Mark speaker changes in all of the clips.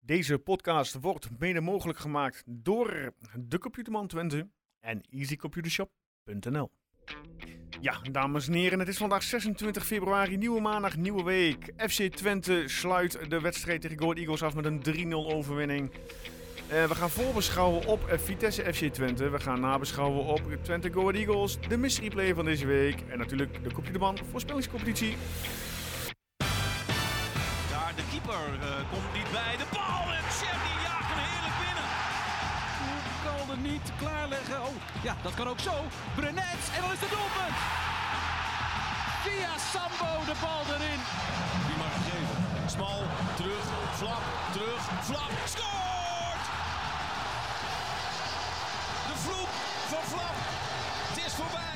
Speaker 1: Deze podcast wordt mede mogelijk gemaakt door de Computerman Twente en easycomputershop.nl. Ja, dames en heren, het is vandaag 26 februari, nieuwe maandag, nieuwe week. FC Twente sluit de wedstrijd tegen Go Ahead Eagles af met een 3-0 overwinning. Eh, we gaan voorbeschouwen op eh, Vitesse FC Twente. We gaan nabeschouwen op Twente Go Ahead Eagles, de mystery play van deze week. En natuurlijk de Computerman voorspellingscompetitie.
Speaker 2: Daar de keeper eh, komt niet bij. De bal en Chef die jaagt hem heerlijk binnen.
Speaker 3: kan er niet klaarleggen. Oh, ja, dat kan ook zo. Brenets, en dan is het doelpunt. Via Sambo de bal erin.
Speaker 2: Die mag het geven. Smal, terug, flap, terug, flap. Scoort! De vloek van flap. Het is voorbij.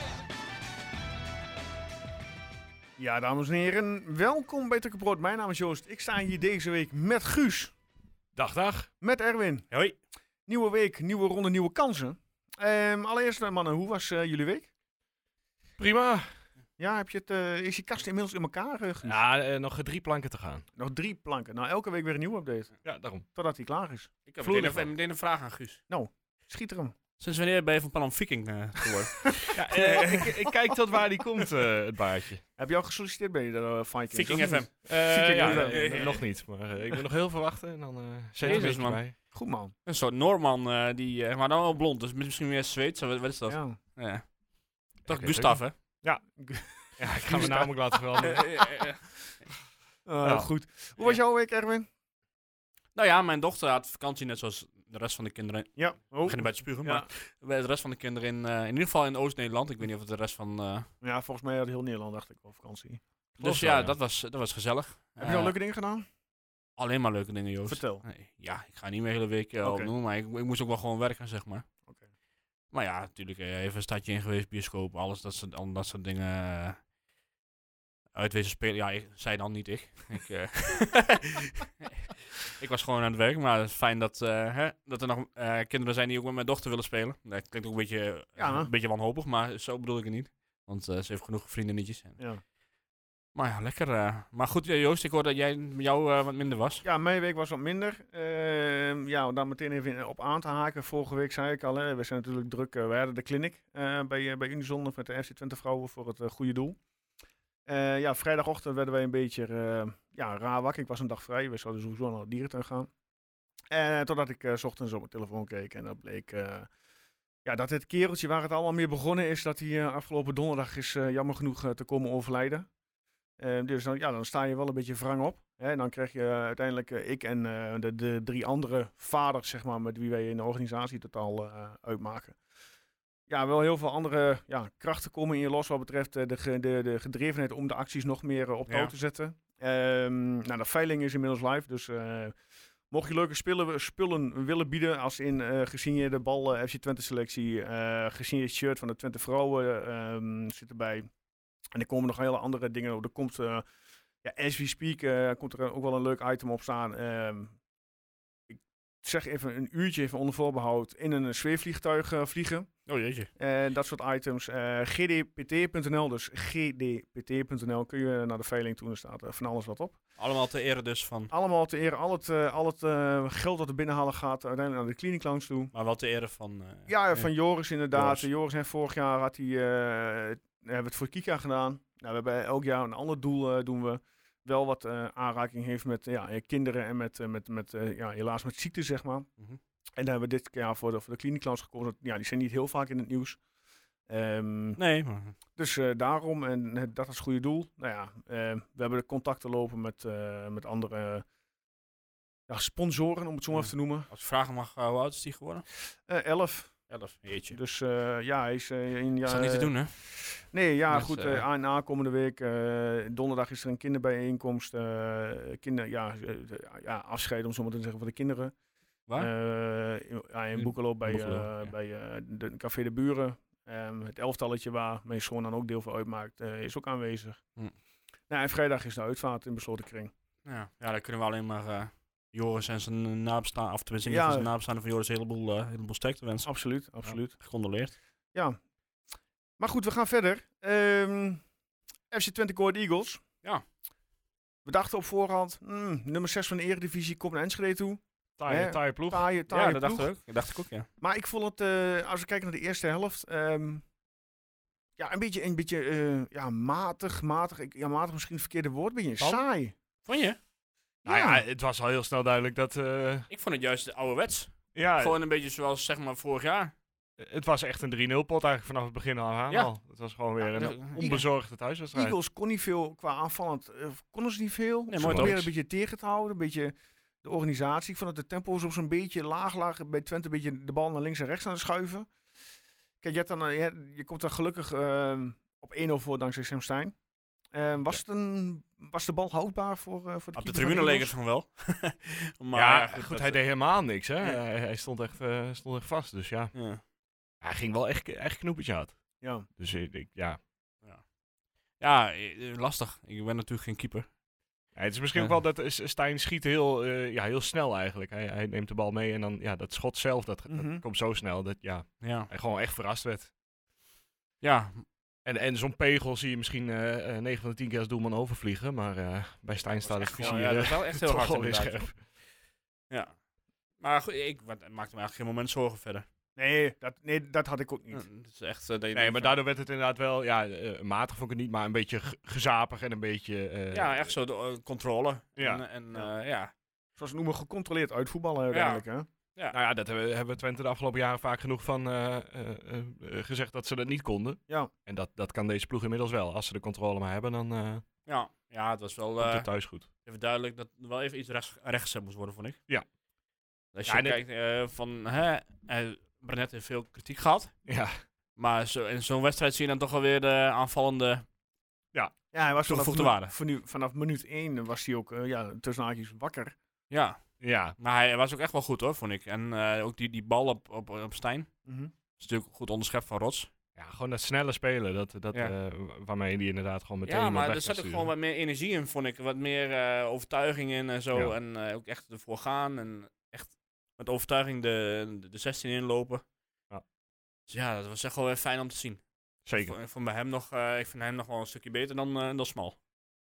Speaker 1: Ja, dames en heren, welkom bij Tukker Brood. Mijn naam is Joost. Ik sta hier deze week met Guus,
Speaker 4: Dag, dag.
Speaker 1: met Erwin.
Speaker 4: Hoi.
Speaker 1: Nieuwe week, nieuwe ronde, nieuwe kansen. Ehm, allereerst, eh, mannen, hoe was eh, jullie week?
Speaker 4: Prima.
Speaker 1: Ja, heb je het, eh, is je kast inmiddels in elkaar? eh, Guus?
Speaker 4: Ja, eh, nog drie planken te gaan.
Speaker 1: Nog drie planken. Nou, elke week weer een nieuwe update,
Speaker 4: Ja, daarom.
Speaker 1: totdat hij klaar is.
Speaker 5: Ik heb
Speaker 4: Vloeiend
Speaker 5: meteen
Speaker 4: van.
Speaker 5: een, meteen een vraag aan Guus.
Speaker 1: Schiet er hem.
Speaker 5: Sinds wanneer ben je van plan om viking eh, te worden?
Speaker 4: Ja, eh, ik, ik kijk tot waar die komt, eh, het baardje.
Speaker 1: Heb je al gesolliciteerd bij de eh, Vikings?
Speaker 5: viking
Speaker 1: of
Speaker 5: FM.
Speaker 1: niet?
Speaker 4: Eh,
Speaker 1: Ziek, ik
Speaker 4: ja,
Speaker 1: ook wel.
Speaker 4: eh, eh, nog niet, maar eh, ik moet nog heel veel wachten en dan eh zet er
Speaker 5: Jezus,
Speaker 4: een beetje
Speaker 5: man.
Speaker 4: bij.
Speaker 1: Goed man.
Speaker 5: Een soort Noorman, eh, die, eh, maar dan wel blond, dus misschien weer Zweeds, wat, wat is dat? Ja.
Speaker 1: Ja.
Speaker 5: Toch
Speaker 4: Ik weet
Speaker 5: Gustav, hè?
Speaker 4: Ja, ik ga mijn naam ook laten veranderen.
Speaker 1: Eh,
Speaker 4: Ja.
Speaker 1: Goed. Hoe was jouw week, Erwin?
Speaker 5: nou ja, mijn dochter had vakantie, net zoals de rest van de kinderen. Ik
Speaker 1: Ja. Oh.
Speaker 5: begin bij te spugen,
Speaker 1: Ja.
Speaker 5: maar bij de rest van de kinderen in, eh, in ieder geval in Oost-Nederland. Ik weet niet of het de rest van... eh,
Speaker 1: Ja, volgens mij had heel Nederland, dacht ik, wel vakantie.
Speaker 5: dus
Speaker 4: wel,
Speaker 5: ja,
Speaker 4: ja.
Speaker 5: Dat, was, dat was gezellig.
Speaker 1: heb je al
Speaker 5: Eh,
Speaker 1: leuke dingen gedaan?
Speaker 5: Alleen maar leuke dingen, Joost.
Speaker 1: Vertel.
Speaker 5: Nee, ja, ik ga niet meer hele week eh,
Speaker 1: Oké.
Speaker 5: opnoemen, maar ik, ik moest ook wel gewoon werken, zeg maar.
Speaker 1: Oké.
Speaker 5: Maar ja, natuurlijk eh, even een stadje in geweest, bioscoop, alles dat soort, al dat soort dingen. eh, uitwezen spelen, ja, ik, zij dan niet ik. ik, eh, ik was gewoon aan het werk, maar het is fijn dat, eh, hè, dat er nog eh, kinderen zijn die ook met mijn dochter willen spelen. Dat klinkt ook een beetje, eh,
Speaker 1: Ja.
Speaker 5: een beetje wanhopig, maar zo bedoel ik het niet. Want eh, ze heeft genoeg vriendinnetjes. En,
Speaker 1: Ja.
Speaker 5: maar ja, lekker. eh. maar goed, eh, Joost, ik hoor dat jij jou eh, wat minder was.
Speaker 1: Ja, mijn week was wat minder. Ehm, ja, om daar meteen even op aan te haken. Vorige week zei ik al, hè, we zijn natuurlijk druk. eh, we hadden de clinic eh, bij, eh, bij Unison of met de FC Twente vrouwen voor het eh, goede doel. Eh, ja, vrijdagochtend werden wij een beetje eh, ja, raar wakker. Ik was een dag vrij. We zouden sowieso naar de dierentuin gaan. Eh, totdat ik eh, 's ochtends op mijn telefoon keek en dat bleek... eh, ja, dat het kereltje waar het allemaal mee begonnen is, dat hij eh, afgelopen donderdag is eh, jammer genoeg eh, te komen overlijden. Eh, dus dan, ja, dan sta je wel een beetje wrang op. Hè? En dan krijg je eh, uiteindelijk eh, ik en eh, de, de drie andere vaders, zeg maar, met wie wij in de organisatie totaal eh, uitmaken. Ja, wel heel veel andere ja, krachten komen in je los wat betreft eh, de, ge- de, de gedrevenheid om de acties nog meer eh, op touw
Speaker 5: Ja.
Speaker 1: te zetten. Ehm, nou, de veiling is inmiddels live, dus eh, mocht je leuke spullen, spullen willen bieden, als in eh gesigneerde bal eh, FC Twente selectie, eh gesigneerd shirt van de Twente vrouwen ehm zit erbij. En er komen nog hele andere dingen. Er komt, eh, ja, as we speak, eh, komt er ook wel een leuk item op staan. Ehm, ik zeg even een uurtje, even onder voorbehoud, in een zweefvliegtuig eh, vliegen.
Speaker 5: Oh jeetje.
Speaker 1: Eh, dat soort items. Eh, gdpt.nl, dus gdpt.nl kun je naar de veiling toe. Er staat eh, van alles wat op.
Speaker 5: Allemaal te ere dus van.
Speaker 1: Allemaal te ere. Al het, eh, al het eh, geld dat er binnenhalen gaat uiteindelijk naar de clinic lounge toe.
Speaker 5: Maar wel te ere van. eh,
Speaker 1: Ja, van Joris inderdaad.
Speaker 5: Joris.
Speaker 1: Joris, en vorig jaar had hij, eh, hebben we het voor Kika gedaan. Nou, we hebben elk jaar een ander doel eh, doen we. Wel wat eh, aanraking heeft met ja, eh, kinderen en met, eh, met, met eh, ja, helaas met ziekte, zeg maar.
Speaker 5: Mhm.
Speaker 1: En daar hebben we dit jaar voor de, voor de Clinic Lounge gekozen. Ja, die zijn niet heel vaak in het nieuws. Ehm,
Speaker 5: Nee, maar.
Speaker 1: dus eh, daarom, en eh, dat is het goede doel. Nou ja, eh, we hebben de contacten lopen met, eh, met andere eh, ja, sponsoren, om het zo maar
Speaker 5: Ja.
Speaker 1: even te noemen.
Speaker 5: Als ik vragen mag, eh, hoe oud is die geworden?
Speaker 1: Eh elf.
Speaker 5: Elf. Jeetje. Dat
Speaker 1: Dus eh, ja, hij is eh, in... Ja,
Speaker 5: is dat niet te
Speaker 1: eh,
Speaker 5: doen, hè?
Speaker 1: Nee, ja,
Speaker 5: Dus,
Speaker 1: goed.
Speaker 5: eh,
Speaker 1: eh, aan aankomende week, eh, donderdag is er een kinderbijeenkomst. eh kinder, ja, eh, ja, afscheid om zo maar te zeggen voor de kinderen.
Speaker 5: Waar?
Speaker 1: Eh, in, ja, in
Speaker 5: In
Speaker 1: Boekelo bij,
Speaker 5: Boekelo,
Speaker 1: eh,
Speaker 5: ja.
Speaker 1: bij eh, de Café de Buren. Ehm, het elftalletje waar mijn schoon dan ook deel van uitmaakt, eh, is ook aanwezig.
Speaker 5: Hm.
Speaker 1: Nou, en vrijdag is de uitvaart in besloten kring.
Speaker 5: ja. ja, dan kunnen we alleen maar eh, Joris en zijn nabestaan, of tenminste niet
Speaker 1: Ja.
Speaker 5: van zijn nabestaanden van Joris, een heleboel, eh, een heleboel sterkte wensen.
Speaker 1: Absoluut, absoluut.
Speaker 5: Gecondoleerd.
Speaker 1: Ja. Maar goed, we gaan verder. Ehm, FC Twente Go Ahead Eagles.
Speaker 5: Ja.
Speaker 1: We dachten op voorhand, hmm, nummer 6 van de Eredivisie komt naar Enschede toe.
Speaker 4: Taaie,
Speaker 1: Hè?
Speaker 4: taaie ploeg.
Speaker 1: Taaie, taaie
Speaker 4: ja, dat
Speaker 1: ploeg.
Speaker 4: dacht ik ook. Dat dacht ik ook, ja.
Speaker 1: Maar ik vond het, eh, als we kijken naar de eerste helft, ehm, ja, een beetje, een beetje eh, ja, matig, matig. Ik, ja, matig misschien het verkeerde woord, een beetje
Speaker 4: Van?
Speaker 1: saai.
Speaker 5: Vond je?
Speaker 4: Nou ja, het was al heel snel duidelijk dat... eh,
Speaker 5: Ik vond het juist ouderwets.
Speaker 4: ja,
Speaker 5: Gewoon een beetje zoals zeg maar vorig jaar.
Speaker 4: het was echt een 3-0 pot eigenlijk vanaf het begin al aan
Speaker 5: Ja.
Speaker 4: al. Het was gewoon weer
Speaker 1: nou,
Speaker 5: Ja,
Speaker 4: een
Speaker 5: de-
Speaker 4: onbezorgde thuiswedstrijd.
Speaker 1: Eagles kon niet veel qua aanvallend, eh, konden ze niet veel.
Speaker 5: mooi
Speaker 1: ze probeerden
Speaker 5: toch?
Speaker 1: een beetje tegen te houden, een beetje de organisatie. Ik vond dat de tempo's op zo'n beetje laag lagen. Bij Twente een beetje de bal naar links en rechts aan het schuiven. Kijk, je, hebt dan, eh, je, hebt- je komt dan gelukkig ehm, op 1-0 voor dankzij Sam Stein. Ehm, was, het een, was de bal houdbaar voor, eh, voor de
Speaker 5: Op
Speaker 1: keeper
Speaker 5: de tribune
Speaker 1: van
Speaker 5: leek het
Speaker 1: Eagles?
Speaker 5: van wel. maar
Speaker 4: ja, goed,
Speaker 5: dat-
Speaker 4: hij deed helemaal niks, hè.
Speaker 5: Ja.
Speaker 4: Hij, hij stond, echt, eh, stond echt vast, dus ja.
Speaker 5: Ja.
Speaker 4: Hij ging wel echt, echt knoepetje uit.
Speaker 1: Ja.
Speaker 4: Dus ik, ik- ja.
Speaker 5: ja, eh, lastig. Ik ben natuurlijk geen keeper.
Speaker 4: Ja, het is misschien ook
Speaker 5: Ja.
Speaker 4: wel dat eh, S- Stijn schiet heel, eh, ja, heel snel eigenlijk. Hij, hij neemt de bal mee en dan, ja, dat schot zelf, dat, dat
Speaker 1: Mhm.
Speaker 4: komt zo snel dat, ja,
Speaker 5: Ja,
Speaker 4: hij gewoon echt verrast werd.
Speaker 5: ja
Speaker 4: En, en zo'n pegel zie je misschien eh eh 9 van de 10 keer als doelman overvliegen, maar eh, bij Stijn staat het
Speaker 5: echt wel-
Speaker 4: vizier
Speaker 5: ja, dat
Speaker 4: eh,
Speaker 5: is wel echt heel
Speaker 4: toch
Speaker 5: hard
Speaker 4: wel weer
Speaker 5: inderdaad.
Speaker 4: scherp.
Speaker 5: Ja. Maar goed, ik wat- het maakte me eigenlijk geen moment zorgen verder.
Speaker 1: Nee, dat, nee, dat had ik ook niet.
Speaker 5: Ja, Het is echt, eh, dat je
Speaker 4: Nee,
Speaker 5: denkt
Speaker 4: maar
Speaker 5: van-
Speaker 4: daardoor werd het inderdaad wel, ja, eh, matig vond ik het niet, maar een beetje g- gezapig en een beetje... eh,
Speaker 5: Ja, echt zo de eh, controle.
Speaker 4: Ja.
Speaker 5: En, en ja. ja.
Speaker 1: Zoals noemen, gecontroleerd uitvoetballen uiteindelijk. Hè?
Speaker 4: Nou ja, dat hebben, we- hebben we Twente de afgelopen jaren vaak genoeg van eh, eh, eh, eh, gezegd dat ze dat niet konden.
Speaker 1: Ja.
Speaker 4: En dat, dat kan deze ploeg inmiddels wel. Als ze de controle maar hebben, dan eh komt
Speaker 5: Ja. ja, het was wel eh,
Speaker 4: het thuis goed.
Speaker 5: even duidelijk dat er wel even iets rechts, rechts moest worden, vond ik.
Speaker 4: Ja.
Speaker 5: Als je
Speaker 4: Ja, en het-
Speaker 5: kijkt eh, van, hè, eh, Brenet heeft veel kritiek gehad.
Speaker 4: Ja,
Speaker 5: Maar zo, in zo'n wedstrijd zie je dan toch alweer de aanvallende...
Speaker 1: Ja, hij was vanaf,
Speaker 5: Toegevoegde
Speaker 1: minu-
Speaker 5: waarde.
Speaker 1: van nu- vanaf minuut 1 was hij ook eh, ja, tussen haakjes wakker.
Speaker 5: Ja,
Speaker 4: ja.
Speaker 5: maar hij was ook echt wel goed hoor, vond ik. En eh, ook die, die bal op, op, op Stijn. is natuurlijk goed onderschept van Rots.
Speaker 4: ja gewoon dat snelle spelen, dat, dat,
Speaker 5: Ja.
Speaker 4: eh, wa- waarmee die inderdaad gewoon meteen
Speaker 5: Ja,
Speaker 4: iemand
Speaker 5: maar
Speaker 4: weg
Speaker 5: er
Speaker 4: kan
Speaker 5: zat ook
Speaker 4: sturen.
Speaker 5: gewoon wat meer energie in, vond ik. Wat meer eh, overtuiging in en zo.
Speaker 4: Ja.
Speaker 5: En eh, ook echt ervoor gaan. En echt met overtuiging de, de, de 16 inlopen.
Speaker 4: Ja.
Speaker 5: Dus ja, dat was echt wel weer fijn om te zien.
Speaker 4: Zeker.
Speaker 5: Ik vond bij hem nog, eh, ik vind hem nog wel een stukje beter dan, eh, dan Smal.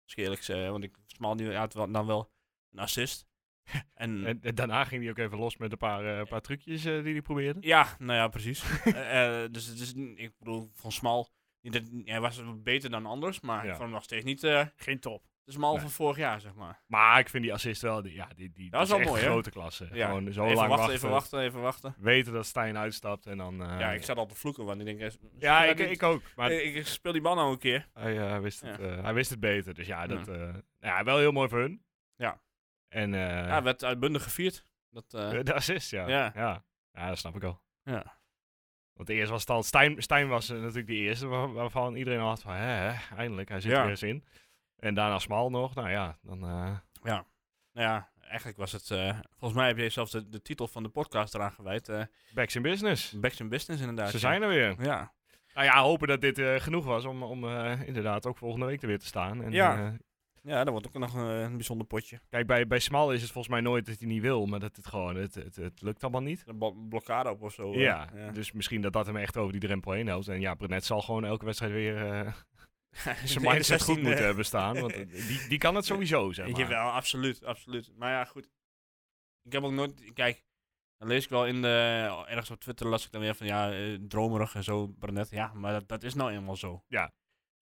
Speaker 5: Als ik eerlijk zeg, want ik Smal die had wel- dan wel een assist. en
Speaker 4: En, en daarna ging hij ook even los met een paar, eh, paar trucjes eh, die hij probeerde.
Speaker 5: Ja, nou ja, precies. Eh, eh, dus het is, n- ik bedoel, van Smal, niet dat- hij was beter dan anders, maar
Speaker 4: Ja.
Speaker 5: ik vond hem nog steeds niet eh
Speaker 1: Geen top.
Speaker 5: de Smal
Speaker 4: Nee.
Speaker 5: van vorig jaar, zeg maar.
Speaker 4: Maar ik vind die assist wel, die, ja, die, die
Speaker 5: Dat is wel
Speaker 4: echt
Speaker 5: mooi, hè?
Speaker 4: grote klasse.
Speaker 5: Ja.
Speaker 4: Gewoon zo
Speaker 5: even
Speaker 4: lang
Speaker 5: wachten,
Speaker 4: wachten,
Speaker 5: even wachten, even wachten.
Speaker 4: Weten dat Stijn uitstapt en dan... eh,
Speaker 5: ja, ik zat al te vloeken, want ik denk, eh,
Speaker 4: ja,
Speaker 5: speel
Speaker 4: ik,
Speaker 5: dit-
Speaker 4: ik ook. Maar
Speaker 5: eh, ik speel die bal nou een keer.
Speaker 4: Hij, eh, hij wist het,
Speaker 5: Ja.
Speaker 4: eh, hij wist het beter. Dus ja, dat, eh, nou ja, wel heel mooi voor hun.
Speaker 5: Ja.
Speaker 4: En eh,
Speaker 5: Ja, werd uitbundig gevierd. Dat, eh,
Speaker 4: de assist, ja.
Speaker 5: Ja.
Speaker 4: Ja. ja. dat snap ik al.
Speaker 5: ja.
Speaker 4: Want eerst was het al... Stijn, Stijn was eh, natuurlijk de eerste waar- waarvan iedereen al had van... Hè, hè, eindelijk, hij zit
Speaker 5: Ja.
Speaker 4: er eens in. En daarna Smal nog. Nou ja, dan... eh,
Speaker 5: Nou ja, eigenlijk was het, eh, volgens mij heb je zelfs de, de titel van de podcast eraan gewijd. eh
Speaker 4: backs in business.
Speaker 5: Backs in Business inderdaad.
Speaker 4: Ze
Speaker 5: ja.
Speaker 4: zijn er weer.
Speaker 5: Ja,
Speaker 4: Nou ja, hopen dat dit eh, genoeg was om, om eh, inderdaad ook volgende week er weer te staan. En,
Speaker 5: Ja.
Speaker 4: eh,
Speaker 5: ja, dat wordt ook nog een, een bijzonder potje.
Speaker 4: kijk, bij, bij Smal is het volgens mij nooit dat hij niet wil, maar dat het gewoon... Het, het, het lukt allemaal niet.
Speaker 5: Een blo- blokkade op of zo. eh,
Speaker 4: Ja, dus misschien dat dat hem echt over die drempel heen helpt. En ja, Brenet zal gewoon elke wedstrijd weer eh, zijn
Speaker 5: In de
Speaker 4: mindset goed
Speaker 5: 16e.
Speaker 4: moeten hebben staan. Want eh, die, die kan het sowieso, zeg maar.
Speaker 5: Jawel, absoluut, absoluut. Maar ja, goed. Ik heb ook nooit... Kijk, dan lees ik wel in de... Ergens op Twitter las ik dan weer van, ja, eh, dromerig en zo, Barnett. Ja, maar dat, dat is nou eenmaal zo.
Speaker 4: Ja,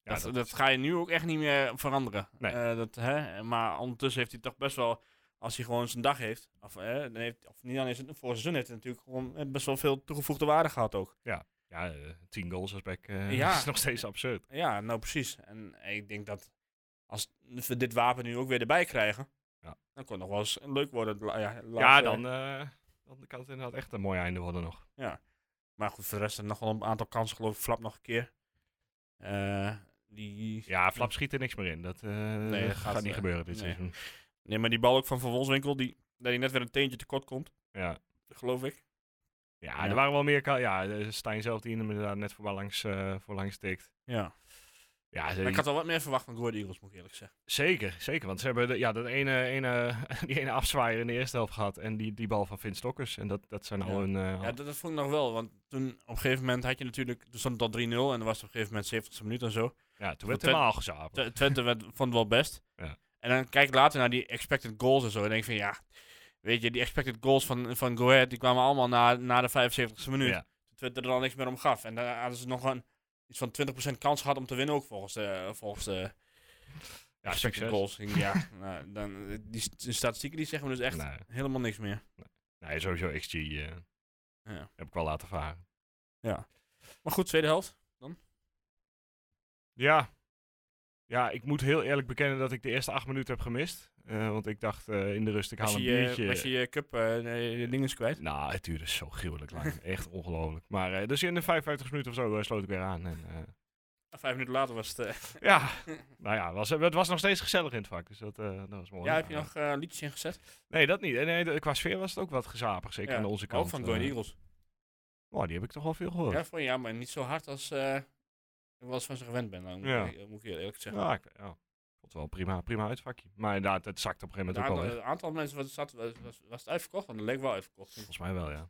Speaker 5: Dat,
Speaker 4: dat-
Speaker 5: dat, ga je nu ook echt niet meer veranderen.
Speaker 4: Nee.
Speaker 5: Eh, dat, hè? Maar ondertussen heeft hij toch best wel... Als hij gewoon zijn dag heeft, of, eh, dan heeft, of niet dan is het voor seizoen, heeft hij natuurlijk gewoon eh, best wel veel toegevoegde waarde gehad ook.
Speaker 4: ja eh, tien goals als back eh,
Speaker 5: Ja.
Speaker 4: is nog steeds absurd.
Speaker 5: Ja, nou precies. En ik denk dat als we dit wapen nu ook weer erbij krijgen,
Speaker 4: Ja.
Speaker 5: dan kon het nog wel eens leuk worden. La- Ja,
Speaker 4: ja,
Speaker 5: laatste-
Speaker 4: dan, eh, dan kan het inderdaad echt een mooi einde worden nog.
Speaker 5: Maar goed, voor de rest er nog wel een aantal kansen, geloof ik. Flap nog een keer. Eh, die...
Speaker 4: Ja, Flap schiet er niks meer in. Dat, eh,
Speaker 5: dat
Speaker 4: dat
Speaker 5: gaat,
Speaker 4: gaat, niet
Speaker 5: eh,
Speaker 4: gebeuren dit
Speaker 5: nee.
Speaker 4: seizoen.
Speaker 5: Nee, maar die bal ook van Van Wolfswinkel, die, dat hij net weer een teentje tekort komt,
Speaker 4: Ja.
Speaker 5: geloof ik.
Speaker 4: Ja,
Speaker 5: Ja.
Speaker 4: er waren wel meer... ka- Ja, eh, Stijn zelf die hem inderdaad net voorbij langs, eh voorlangs tikt.
Speaker 5: Ja.
Speaker 4: Ja, ze-
Speaker 5: Maar ik had wel wat meer verwacht van Go Ahead Eagles, moet ik eerlijk zeggen.
Speaker 4: Zeker, zeker. Want ze hebben de- ja, dat ene, ene, die ene afzwaaier in de eerste helft gehad. En die, die bal van Vin Stokkers. En dat, dat zijn
Speaker 5: Ja.
Speaker 4: al hun... eh,
Speaker 5: Ja, dat, dat vond ik nog wel, want toen op een gegeven moment had je natuurlijk... Toen stond het al 3-0 en dan was het op een gegeven moment 70 minuut en zo.
Speaker 4: Ja, toen werd
Speaker 5: Twen-
Speaker 4: het helemaal gezapen.
Speaker 5: Tw- Twente werd, vond het wel best.
Speaker 4: Ja.
Speaker 5: En dan kijk ik later naar die expected goals en zo. En denk ik van ja, Weet je, die expected goals van, van Go Ahead, die kwamen allemaal na, na de 75e minuut.
Speaker 4: Ja.
Speaker 5: Twitter er dan niks meer om gaf. En daar hadden ze nog een, iets van 20% kans gehad om te winnen ook volgens de, volgens de
Speaker 4: Ja,
Speaker 5: expected
Speaker 4: succes.
Speaker 5: goals. Ik denk, Ja, nou, dan, eh, die st- statistieken die zeggen me dus echt
Speaker 4: Nee.
Speaker 5: helemaal niks meer.
Speaker 4: Nee, sowieso XG eh,
Speaker 5: Ja.
Speaker 4: heb ik wel laten varen.
Speaker 5: Maar goed, tweede helft.
Speaker 4: Ja. Ja, ik moet heel eerlijk bekennen dat ik de eerste acht minuten heb gemist. Eh, want ik dacht eh, in de rust, ik haal
Speaker 5: Als
Speaker 4: een
Speaker 5: je, eh,
Speaker 4: biertje.
Speaker 5: was je je cup eh, eh, je dingen is kwijt.
Speaker 4: Nou, het duurde zo gruwelijk lang. Echt ongelooflijk. Maar eh, dus in de 55 minuten of zo eh, sloot ik weer aan. En, eh,
Speaker 5: Ah, Vijf minuten later was het... eh,
Speaker 4: ja, nou ja, was, het was nog steeds gezellig in het vak. Dus dat, eh, dat was mooi.
Speaker 5: ja, heb je
Speaker 4: Ja.
Speaker 5: nog eh, liedjes ingezet?
Speaker 4: Nee, dat niet. En Nee, de- qua sfeer was het ook wat gezapig, zeker
Speaker 5: Ja,
Speaker 4: aan onze
Speaker 5: maar
Speaker 4: kant.
Speaker 5: Ook van
Speaker 4: Eh,
Speaker 5: Going Eagles.
Speaker 4: oh, die heb ik toch wel veel gehoord.
Speaker 5: Ja, voor, ja, maar niet zo hard als eh, ik was van ze gewend ben. Dan moet,
Speaker 4: Ja.
Speaker 5: ik, moet ik heel eerlijk zeggen.
Speaker 4: Ja, ik, ja. Vond het wel een prima, prima uitvakje. Maar inderdaad, het zakt op een gegeven
Speaker 5: Het
Speaker 4: moment ook
Speaker 5: aantal,
Speaker 4: al weg.
Speaker 5: het aantal mensen wat er zat, was, was, was het uitverkocht? Want het leek wel uitverkocht.
Speaker 4: Volgens mij wel, ja.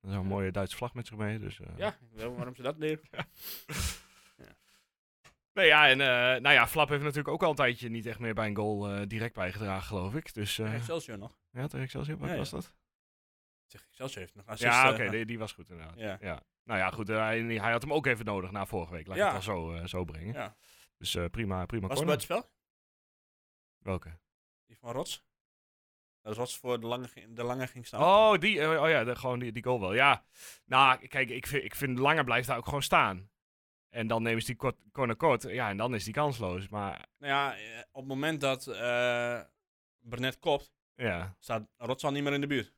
Speaker 4: Er is een mooie Duitse vlag met zich mee, dus... eh.
Speaker 5: Ja, ik weet wel waarom ze dat deden.
Speaker 4: Nee, ja, en eh, nou ja, Flap heeft natuurlijk ook al een tijdje niet echt meer bij een goal eh, direct bijgedragen, geloof ik. Dus eh,
Speaker 5: Excelsior nog.
Speaker 4: ja, tegen Excelsior, wat
Speaker 5: Ja, ja.
Speaker 4: was dat?
Speaker 5: Zeg, Excelsior heeft nog assist.
Speaker 4: Ja,
Speaker 5: eh,
Speaker 4: oké, die, die was goed inderdaad. Ja.
Speaker 5: Ja.
Speaker 4: Nou ja, goed, eh, hij, hij had hem ook even nodig na vorige week. Laat ik
Speaker 5: Ja.
Speaker 4: het wel zo, eh, zo brengen.
Speaker 5: Ja.
Speaker 4: Dus eh, prima, prima
Speaker 5: Was
Speaker 4: corner.
Speaker 5: het buiten spel?
Speaker 4: Welke?
Speaker 5: Die van Rots? Dat Rots voor de lange, ging- de lange ging staan.
Speaker 4: Oh, die, eh, oh ja, de- gewoon die, die goal wel. Ja, nou, kijk, ik vind, ik vind Langer blijft daar ook gewoon staan. En dan nemen ze die kort, corner kort. Ja, en dan is die kansloos. Maar
Speaker 5: Nou ja, eh, op het moment dat eh Burnett kopt,
Speaker 4: ja,
Speaker 5: staat Rots al niet meer in de buurt.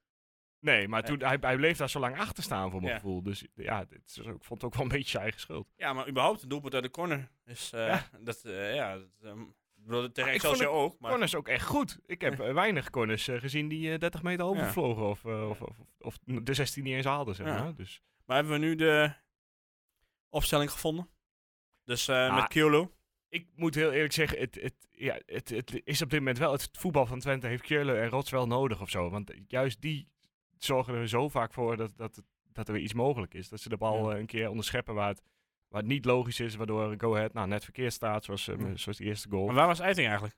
Speaker 4: nee, maar
Speaker 5: Ja.
Speaker 4: toen, hij, hij bleef daar zo lang achter staan voor mijn
Speaker 5: Eh. Ja.
Speaker 4: gevoel. Dus ja, dit is, ook- ik vond het ook wel een beetje zijn eigen schuld.
Speaker 5: Ja, maar überhaupt, het doelpunt uit de corner is... eh,
Speaker 4: Ja.
Speaker 5: Dat, eh, ja, dat, ehm, ik bedoel, tegen
Speaker 4: Ah, ik vond
Speaker 5: Excelsior ook, maar...
Speaker 4: Corners ook echt goed. Ik heb eh, weinig corners eh, gezien die eh, 30 meter overvlogen. Of, eh, of, of, of de 16 niet eens haalden, zeg
Speaker 5: Ja.
Speaker 4: maar. Dus
Speaker 5: Maar hebben we nu de opstelling gevonden? Dus eh,
Speaker 4: Ah.
Speaker 5: met Kyolo.
Speaker 4: ik moet heel eerlijk zeggen, het, het, ja, het, het is op dit moment wel het voetbal van Twente heeft Keulen en Rots wel nodig of zo. Want juist die zorgen er zo vaak voor dat, dat, het- dat er weer iets mogelijk is. Dat ze de bal
Speaker 5: Ja.
Speaker 4: eh, een keer onderscheppen waar het, waar het niet logisch is, waardoor Go Ahead nou, net verkeerd staat, zoals, eh,
Speaker 5: Ja.
Speaker 4: zoals die eerste goal.
Speaker 5: Maar waar was Eiting eigenlijk?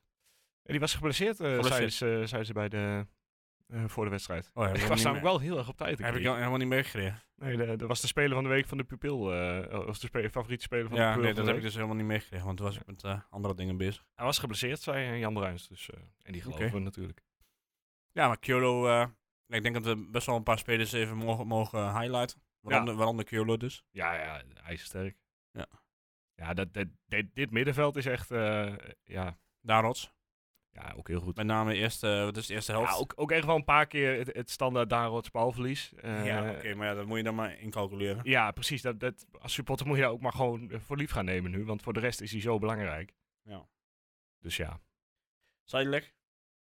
Speaker 4: En die was geblesseerd, eh zeiden
Speaker 5: Geblesseerd.
Speaker 4: ze, zeiden ze bij de, eh, voor de wedstrijd.
Speaker 5: Oh,
Speaker 4: ik was namelijk wel heel erg op tijd.
Speaker 5: Heb ik
Speaker 4: kreeg.
Speaker 5: helemaal niet meegekregen.
Speaker 4: nee, de- dat was de speler van de week van de pupil. eh, of de spe- favoriete speler van de
Speaker 5: Ja,
Speaker 4: pupil.
Speaker 5: nee,
Speaker 4: van
Speaker 5: dat
Speaker 4: de
Speaker 5: heb ik
Speaker 4: week.
Speaker 5: dus helemaal niet meegekregen, want toen was ik met eh, andere dingen bezig.
Speaker 4: Hij was geblesseerd, zei eh, Jan Bruins. Dus, eh, en die geloven
Speaker 5: Oké.
Speaker 4: we natuurlijk.
Speaker 5: Ja, maar Kyolo, eh, ik denk dat we best wel een paar spelers even mogen, mogen highlighten. Waaronder, waaronder Kyolo dus.
Speaker 4: Ja, ja, ijzersterk.
Speaker 5: Ja.
Speaker 4: Ja, dat, dat, dit, dit middenveld is echt, eh, ja,
Speaker 5: Darots.
Speaker 4: ja, ook heel goed.
Speaker 5: Met name eerst, eh, wat is de eerste helft?
Speaker 4: Ja, ook, ook echt wel een paar keer het, het standaard Darots balverlies. Eh,
Speaker 5: Ja, oké, maar ja, dat moet je dan maar incalculeren.
Speaker 4: ja, precies. Dat, dat, als supporter moet je daar ook maar gewoon eh, voor lief gaan nemen nu. Want voor de rest is hij zo belangrijk.
Speaker 5: Ja.
Speaker 4: Dus ja,
Speaker 5: Zijdelijk,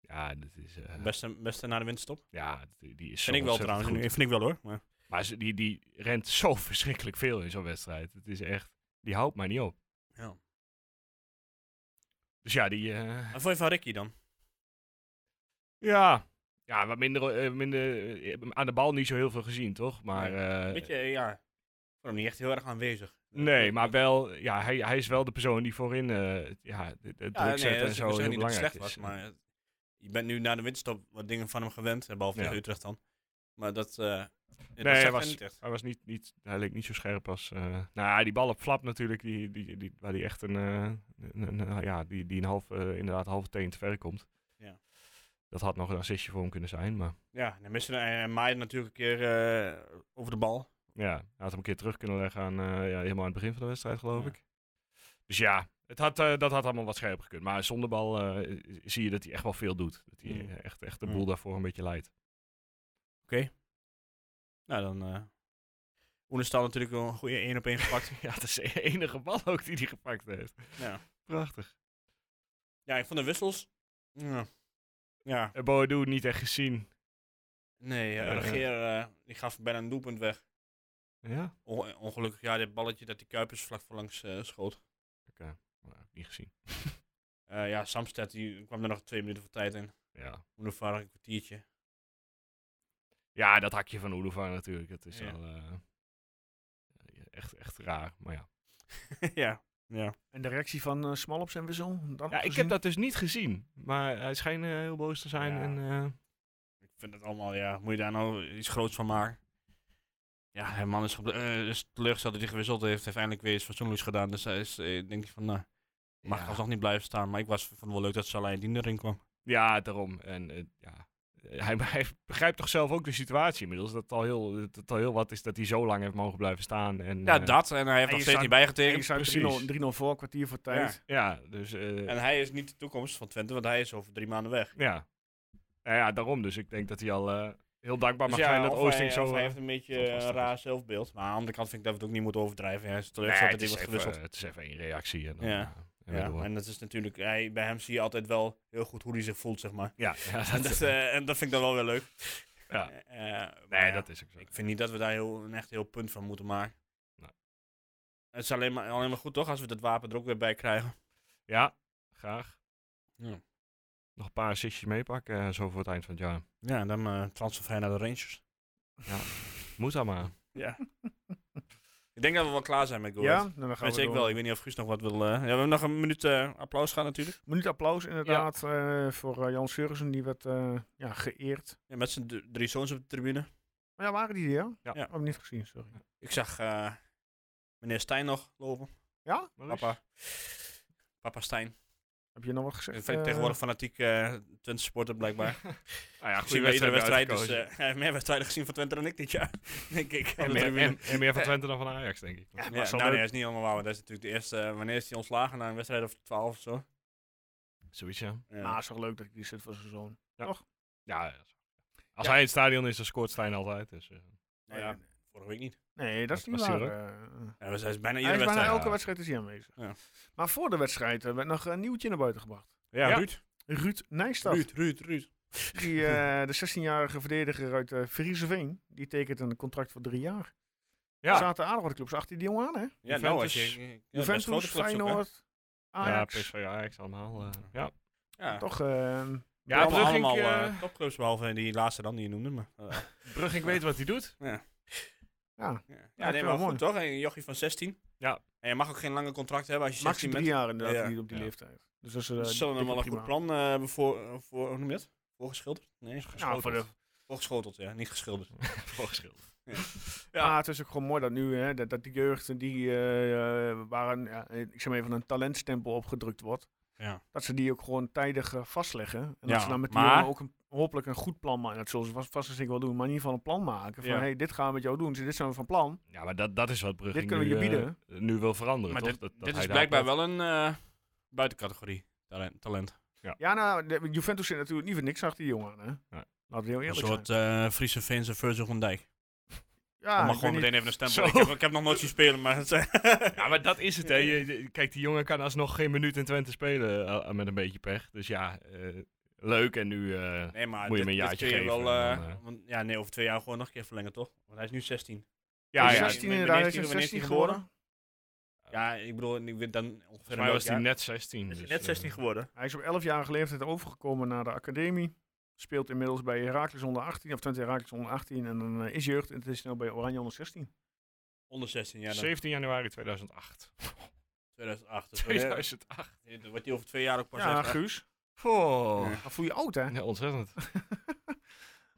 Speaker 4: ja, dat is, eh,
Speaker 5: beste, beste na de winterstop.
Speaker 4: ja die, die is zo
Speaker 5: Vind ik wel
Speaker 4: ontzettend
Speaker 5: trouwens,
Speaker 4: goed.
Speaker 5: vind ik wel hoor. Maar,
Speaker 4: Maar ze- die, die rent zo verschrikkelijk veel in zo'n wedstrijd. Het is echt, die houdt maar niet op.
Speaker 5: ja.
Speaker 4: Dus ja, die... eh,
Speaker 5: En vond je van Ricky dan?
Speaker 4: Ja. Ja, wat minder, eh, minder eh, aan de bal niet zo heel veel gezien, toch? Maar, eh,
Speaker 5: Weet je, ja, ik vond hem niet echt heel erg aanwezig.
Speaker 4: nee,
Speaker 5: eh,
Speaker 4: maar wel, ja, hij, hij is wel de persoon die voorin eh, ja, de, de
Speaker 5: Ja,
Speaker 4: druk
Speaker 5: nee,
Speaker 4: zet
Speaker 5: dat
Speaker 4: en
Speaker 5: is-
Speaker 4: zo
Speaker 5: ik
Speaker 4: heel
Speaker 5: zeg niet dat
Speaker 4: belangrijk
Speaker 5: het slecht
Speaker 4: is.
Speaker 5: was, maar het- je bent nu na de winterstop wat dingen van hem gewend, eh, behalve
Speaker 4: Ja.
Speaker 5: tegen Utrecht dan. Maar dat, eh nee,
Speaker 4: hij
Speaker 5: dat
Speaker 4: was-
Speaker 5: zag was... niet echt.
Speaker 4: Hij, was niet, niet, hij leek niet zo scherp als... eh, nou ja, die bal op flap natuurlijk, die, die, die, waar die echt een, eh, een- een- ja, die, die een half, eh, inderdaad een halve teen te ver komt.
Speaker 5: Ja.
Speaker 4: Dat had nog een assistje voor hem kunnen zijn, maar
Speaker 5: Ja, dan miste hij en Maaien natuurlijk een keer eh, over de bal.
Speaker 4: ja, hij had hem een keer terug kunnen leggen aan, eh, ja, helemaal aan het begin van de wedstrijd, geloof
Speaker 5: Ja.
Speaker 4: ik. Dus ja, het had, eh, dat had allemaal wat scherper gekund. Maar zonder bal eh, zie je dat hij echt wel veel doet. Dat hij
Speaker 5: Mm.
Speaker 4: eh, echt, echt de
Speaker 5: Mm.
Speaker 4: boel daarvoor een beetje leidt.
Speaker 5: Nou, dan... eh Oenestal natuurlijk wel een goede 1 op 1 gepakt.
Speaker 4: Ja, dat is de enige bal ook die hij gepakt heeft.
Speaker 5: ja.
Speaker 4: Prachtig.
Speaker 5: ja, ik vond de wissels... Ja, ja.
Speaker 4: En Boadu niet echt gezien.
Speaker 5: nee,
Speaker 4: Ja.
Speaker 5: ja, Regeer eh, die gaf bijna een doelpunt weg.
Speaker 4: Ja?
Speaker 5: On- ongelukkig, ja, dit balletje dat die Kuipers vlak voor langs eh, schoot.
Speaker 4: Maar, niet gezien.
Speaker 5: Eh, ja, Samsted die kwam er nog twee minuten voor tijd in.
Speaker 4: Ja.
Speaker 5: Oenevaardig een kwartiertje.
Speaker 4: ja, dat hakje van Oelofa natuurlijk. Dat is
Speaker 5: Ja.
Speaker 4: wel eh, echt, echt raar. Maar ja.
Speaker 5: ja. Ja.
Speaker 1: En de reactie van eh, Smal op zijn wissel? Dan
Speaker 4: ja, ik heb dat dus niet gezien. Maar hij schijnt eh, heel boos te zijn.
Speaker 5: Ja.
Speaker 4: En, eh,
Speaker 5: Ik vind het allemaal, ja, moet je daar nou iets groots van maken? Ja, de man is, gebl- eh, is teleurgesteld dat hij gewisseld heeft. Heeft eindelijk weer iets fatsoenlijks gedaan. Dus hij is, eh, denk ik van, nou, mag
Speaker 4: Ja.
Speaker 5: alsnog niet blijven staan. Maar ik was, vond het wel leuk dat Salah Dien erin kwam.
Speaker 4: Ja, daarom. En eh, ja. Eh, Hij, hij begrijpt toch zelf ook de situatie inmiddels. Dat het al heel, dat het al heel wat is dat hij zo lang heeft mogen blijven staan. En,
Speaker 5: Ja,
Speaker 4: eh,
Speaker 5: dat. En hij heeft
Speaker 1: en
Speaker 5: nog
Speaker 1: je
Speaker 5: steeds
Speaker 1: staat-
Speaker 5: niet
Speaker 1: En je
Speaker 5: bijgetekend.
Speaker 1: staat 3-0
Speaker 4: precies.
Speaker 1: 3-0 voor, kwartier voor tijd.
Speaker 4: Ja, dus. eh,
Speaker 5: En hij is niet de toekomst van Twente, want hij is over drie maanden weg.
Speaker 4: ja. Nou ja, daarom. Dus ik denk dat hij al eh, heel dankbaar
Speaker 5: Dus
Speaker 4: mag
Speaker 5: ja,
Speaker 4: zijn dat
Speaker 5: of
Speaker 4: Oosting
Speaker 5: hij, of
Speaker 4: zo.
Speaker 5: hij
Speaker 4: eh,
Speaker 5: heeft een beetje
Speaker 4: dat
Speaker 5: eh,
Speaker 4: was
Speaker 5: een
Speaker 4: het.
Speaker 5: raar zelfbeeld. Maar aan de andere kant vind ik dat we het ook niet moeten overdrijven. Hij is
Speaker 4: nee,
Speaker 5: teleurgesteld
Speaker 4: het,
Speaker 5: dat
Speaker 4: is
Speaker 5: hij wordt
Speaker 4: even,
Speaker 5: gewisseld.
Speaker 4: eh, het is even één reactie. En dan,
Speaker 5: Ja.
Speaker 4: eh, en weer
Speaker 5: Ja,
Speaker 4: door.
Speaker 5: en dat is natuurlijk, hij, bij hem zie je altijd wel heel goed hoe hij zich voelt, zeg maar.
Speaker 4: ja, ja, dat,
Speaker 5: En dat, eh, en dat vind ik dan wel weer leuk.
Speaker 4: ja.
Speaker 5: Eh, maar
Speaker 4: Nee,
Speaker 5: ja,
Speaker 4: dat is ook zo.
Speaker 5: Ik vind niet dat we daar heel, een echt heel punt van moeten maken.
Speaker 4: Nee.
Speaker 5: Het is alleen maar, alleen maar goed toch, als we dat wapen er ook weer bij krijgen.
Speaker 4: Ja, graag.
Speaker 5: Ja,
Speaker 4: Nog een paar assistjes meepakken, eh, zo voor het eind van het jaar.
Speaker 5: ja en dan eh transfervrij naar de Rangers.
Speaker 4: Moet dat maar.
Speaker 5: Ja. ik denk dat we wel klaar zijn met Go
Speaker 1: Ja, nou, dan gaan
Speaker 5: Dat
Speaker 1: we
Speaker 5: weet ik
Speaker 1: door.
Speaker 5: wel. Ik weet niet of Guus nog wat wil. eh, Ja, we hebben nog een minuut eh, applaus gehad natuurlijk.
Speaker 1: Minuut applaus inderdaad eh, voor eh, Jan Seurissen, die werd eh, ja, geëerd.
Speaker 5: Ja, met zijn d- drie zoons op de tribune.
Speaker 1: Maar ja, waren die er? Ja?
Speaker 4: Ja.
Speaker 1: Ik heb hem niet gezien, sorry.
Speaker 5: Ik zag eh, meneer Stijn nog lopen.
Speaker 1: Ja?
Speaker 5: Papa. Papa Stijn.
Speaker 1: Heb je nog wat
Speaker 5: Ik
Speaker 1: gezegd?
Speaker 5: vind
Speaker 1: eh,
Speaker 5: tegenwoordig fanatiek eh Twente supporter blijkbaar.
Speaker 4: Nou ja,
Speaker 5: ik zie
Speaker 4: goede
Speaker 5: meerdere
Speaker 4: wedstrijd.
Speaker 5: wedstrijden. Dus,
Speaker 4: uitgekozen.
Speaker 5: eh, meer wedstrijden gezien van Twente dan ik dit jaar. Denk ik. op
Speaker 4: en,
Speaker 5: de
Speaker 4: meer,
Speaker 5: tribune.
Speaker 4: en, en meer van Twente dan van Ajax, denk ik.
Speaker 5: Ja,
Speaker 4: Maar zo
Speaker 5: nou, nee,
Speaker 4: leuk.
Speaker 5: dat is niet allemaal waar. want Dat is natuurlijk de eerste. eh, wanneer is hij ontslagen? Na een wedstrijd of 12 of zo.
Speaker 4: Zoiets, ja.
Speaker 5: Ja.
Speaker 1: Nou, is toch leuk dat hij zit voor zijn zoon.
Speaker 4: Ja, ja, zo. Als hij in het stadion is, dan scoort Stijn altijd. Dus, eh.
Speaker 5: Nou ja, vorige week niet.
Speaker 1: Nee, dat is
Speaker 4: Was-
Speaker 1: niet
Speaker 4: was hij
Speaker 1: waar.
Speaker 4: er
Speaker 1: eh.
Speaker 5: Ja, dus hij is bijna
Speaker 1: Hij
Speaker 5: iedere
Speaker 1: is bijna
Speaker 5: wedstrijd.
Speaker 1: elke wedstrijd is hij aanwezig.
Speaker 5: Ja.
Speaker 1: Maar voor de wedstrijd eh, werd nog een nieuwtje naar buiten gebracht.
Speaker 5: Ja,
Speaker 4: Ja.
Speaker 5: Ruud.
Speaker 1: Ruud Nijstad,
Speaker 5: Ruud, Ruud, Ruud.
Speaker 1: Die, eh, de 16-jarige verdediger uit eh Frieseveen, die tekent een contract voor drie jaar. Er
Speaker 4: ja.
Speaker 1: zaten aardig wat clubs achter die jongen aan, hè?
Speaker 5: Ja, nou, als je...
Speaker 4: Juventus.
Speaker 5: ja, best
Speaker 1: Juventus,
Speaker 5: grote clubs ook, hè?
Speaker 1: Feyenoord,
Speaker 4: ja,
Speaker 1: Ajax.
Speaker 4: PSV, Ajax allemaal. eh, ja,
Speaker 5: Ja,
Speaker 1: Toch, eh,
Speaker 4: ja
Speaker 5: allemaal,
Speaker 4: Brugink,
Speaker 5: allemaal
Speaker 4: eh,
Speaker 5: eh, topclubs, behalve die laatste dan die je noemde. Maar, eh,
Speaker 4: Brugink weet wat hij doet.
Speaker 1: ja.
Speaker 5: ja,
Speaker 1: vind
Speaker 5: nee,
Speaker 1: ik
Speaker 5: maar
Speaker 1: wel
Speaker 5: goed
Speaker 1: mooi.
Speaker 5: toch? Een jochie van 16.
Speaker 4: Ja.
Speaker 5: En je mag ook geen lange contract hebben als je
Speaker 1: Max
Speaker 5: 16
Speaker 1: drie
Speaker 5: bent.
Speaker 1: jaar inderdaad
Speaker 5: Ja.
Speaker 1: die- op die
Speaker 4: Ja.
Speaker 1: leeftijd. Dus dat is, eh,
Speaker 5: Ze zullen hem
Speaker 1: dikke
Speaker 5: wel een
Speaker 1: prima.
Speaker 5: goed plan eh voor, eh, voor, hoe noem je het? Voorgeschilderd? Nee,
Speaker 1: Ja, voor de,
Speaker 5: voorgeschoteld, ja. Niet geschilderd.
Speaker 4: Voorgeschilderd.
Speaker 1: Ja. Ah, het is ook gewoon mooi dat nu, hè, dat, dat die jeugd die eh, waren, ja, ik zeg maar even een talentstempel opgedrukt wordt,
Speaker 5: Ja.
Speaker 1: dat ze die ook gewoon tijdig eh, vastleggen. En
Speaker 5: Ja,
Speaker 1: dat ze dan met die
Speaker 5: maar-
Speaker 1: jongen ook een, hopelijk een goed plan maken. Dat zullen ze vast, vast en zeker wel doen, maar in ieder geval een plan maken. Van,
Speaker 5: Ja.
Speaker 1: hey, dit gaan we met jou doen, dit zijn we van plan.
Speaker 4: Ja, maar dat, dat is wat Brugink
Speaker 1: Dit kunnen we je
Speaker 4: nu, eh, nu wil veranderen,
Speaker 5: Maar
Speaker 4: toch?
Speaker 5: dit,
Speaker 4: Dat- dat
Speaker 5: dit
Speaker 4: hij
Speaker 5: is
Speaker 4: daar
Speaker 5: blijkbaar
Speaker 4: blijft.
Speaker 5: wel een eh, buitencategorie talent. talent.
Speaker 1: Ja, nou, de- Juventus zit natuurlijk niet voor niks achter die jongen. Hè.
Speaker 4: Nee.
Speaker 1: Laten we heel
Speaker 5: Een
Speaker 1: eerlijk
Speaker 5: soort
Speaker 1: zijn.
Speaker 5: eh Friese Veense Virgil van
Speaker 4: Ah,
Speaker 5: Dijk.
Speaker 1: Ja,
Speaker 5: mag
Speaker 1: ik
Speaker 5: gewoon
Speaker 1: weet
Speaker 5: meteen
Speaker 1: niet-
Speaker 5: even een
Speaker 4: Zo.
Speaker 5: stempel. Ik heb, ik heb nog nooit zien spelen, maar... Het,
Speaker 4: Ja, maar dat is het, hè. Je- je- kijk, die jongen kan alsnog geen minuut in Twente spelen eh, met een beetje pech. Dus ja, eh, leuk. En nu... eh,
Speaker 5: Nee, maar
Speaker 4: Moet je
Speaker 5: dit-
Speaker 4: hem een
Speaker 5: dit
Speaker 4: jaartje
Speaker 5: kun je
Speaker 4: geven
Speaker 5: Wel,
Speaker 4: en
Speaker 5: eh,
Speaker 4: dan, eh.
Speaker 5: want, ja, nee, over twee jaar gewoon nog een keer verlengen, toch? Want hij is nu 16.
Speaker 4: ja, ja,
Speaker 1: 16 inderdaad, hij is
Speaker 5: wanneer is hij
Speaker 1: 16
Speaker 5: geboren?
Speaker 1: geworden.
Speaker 5: Ja, ik bedoel, ik weet dan ongeveer
Speaker 4: volgens mij
Speaker 5: welk
Speaker 4: was hij
Speaker 5: jaar.
Speaker 4: net 16.
Speaker 5: Is hij
Speaker 4: dus,
Speaker 5: net
Speaker 4: eh,
Speaker 5: 16 geworden.
Speaker 1: Hij is op 11-jarige leeftijd overgekomen naar de academie. Speelt inmiddels bij Heracles onder 18, of Twente Heracles onder 18. En dan eh, is jeugd en het is snel bij Oranje onder 16.
Speaker 5: Onder 16 jaar dan.
Speaker 4: 17 januari 2008.
Speaker 5: 2008. Dus wanneer-
Speaker 4: 2008.
Speaker 5: dit wordt hij over twee jaar ook pas
Speaker 1: ja,
Speaker 5: echt, hè?
Speaker 1: Guus.
Speaker 4: Oh.
Speaker 5: Ja.
Speaker 1: Dan voel je oud, hè?
Speaker 4: Ja, ontzettend.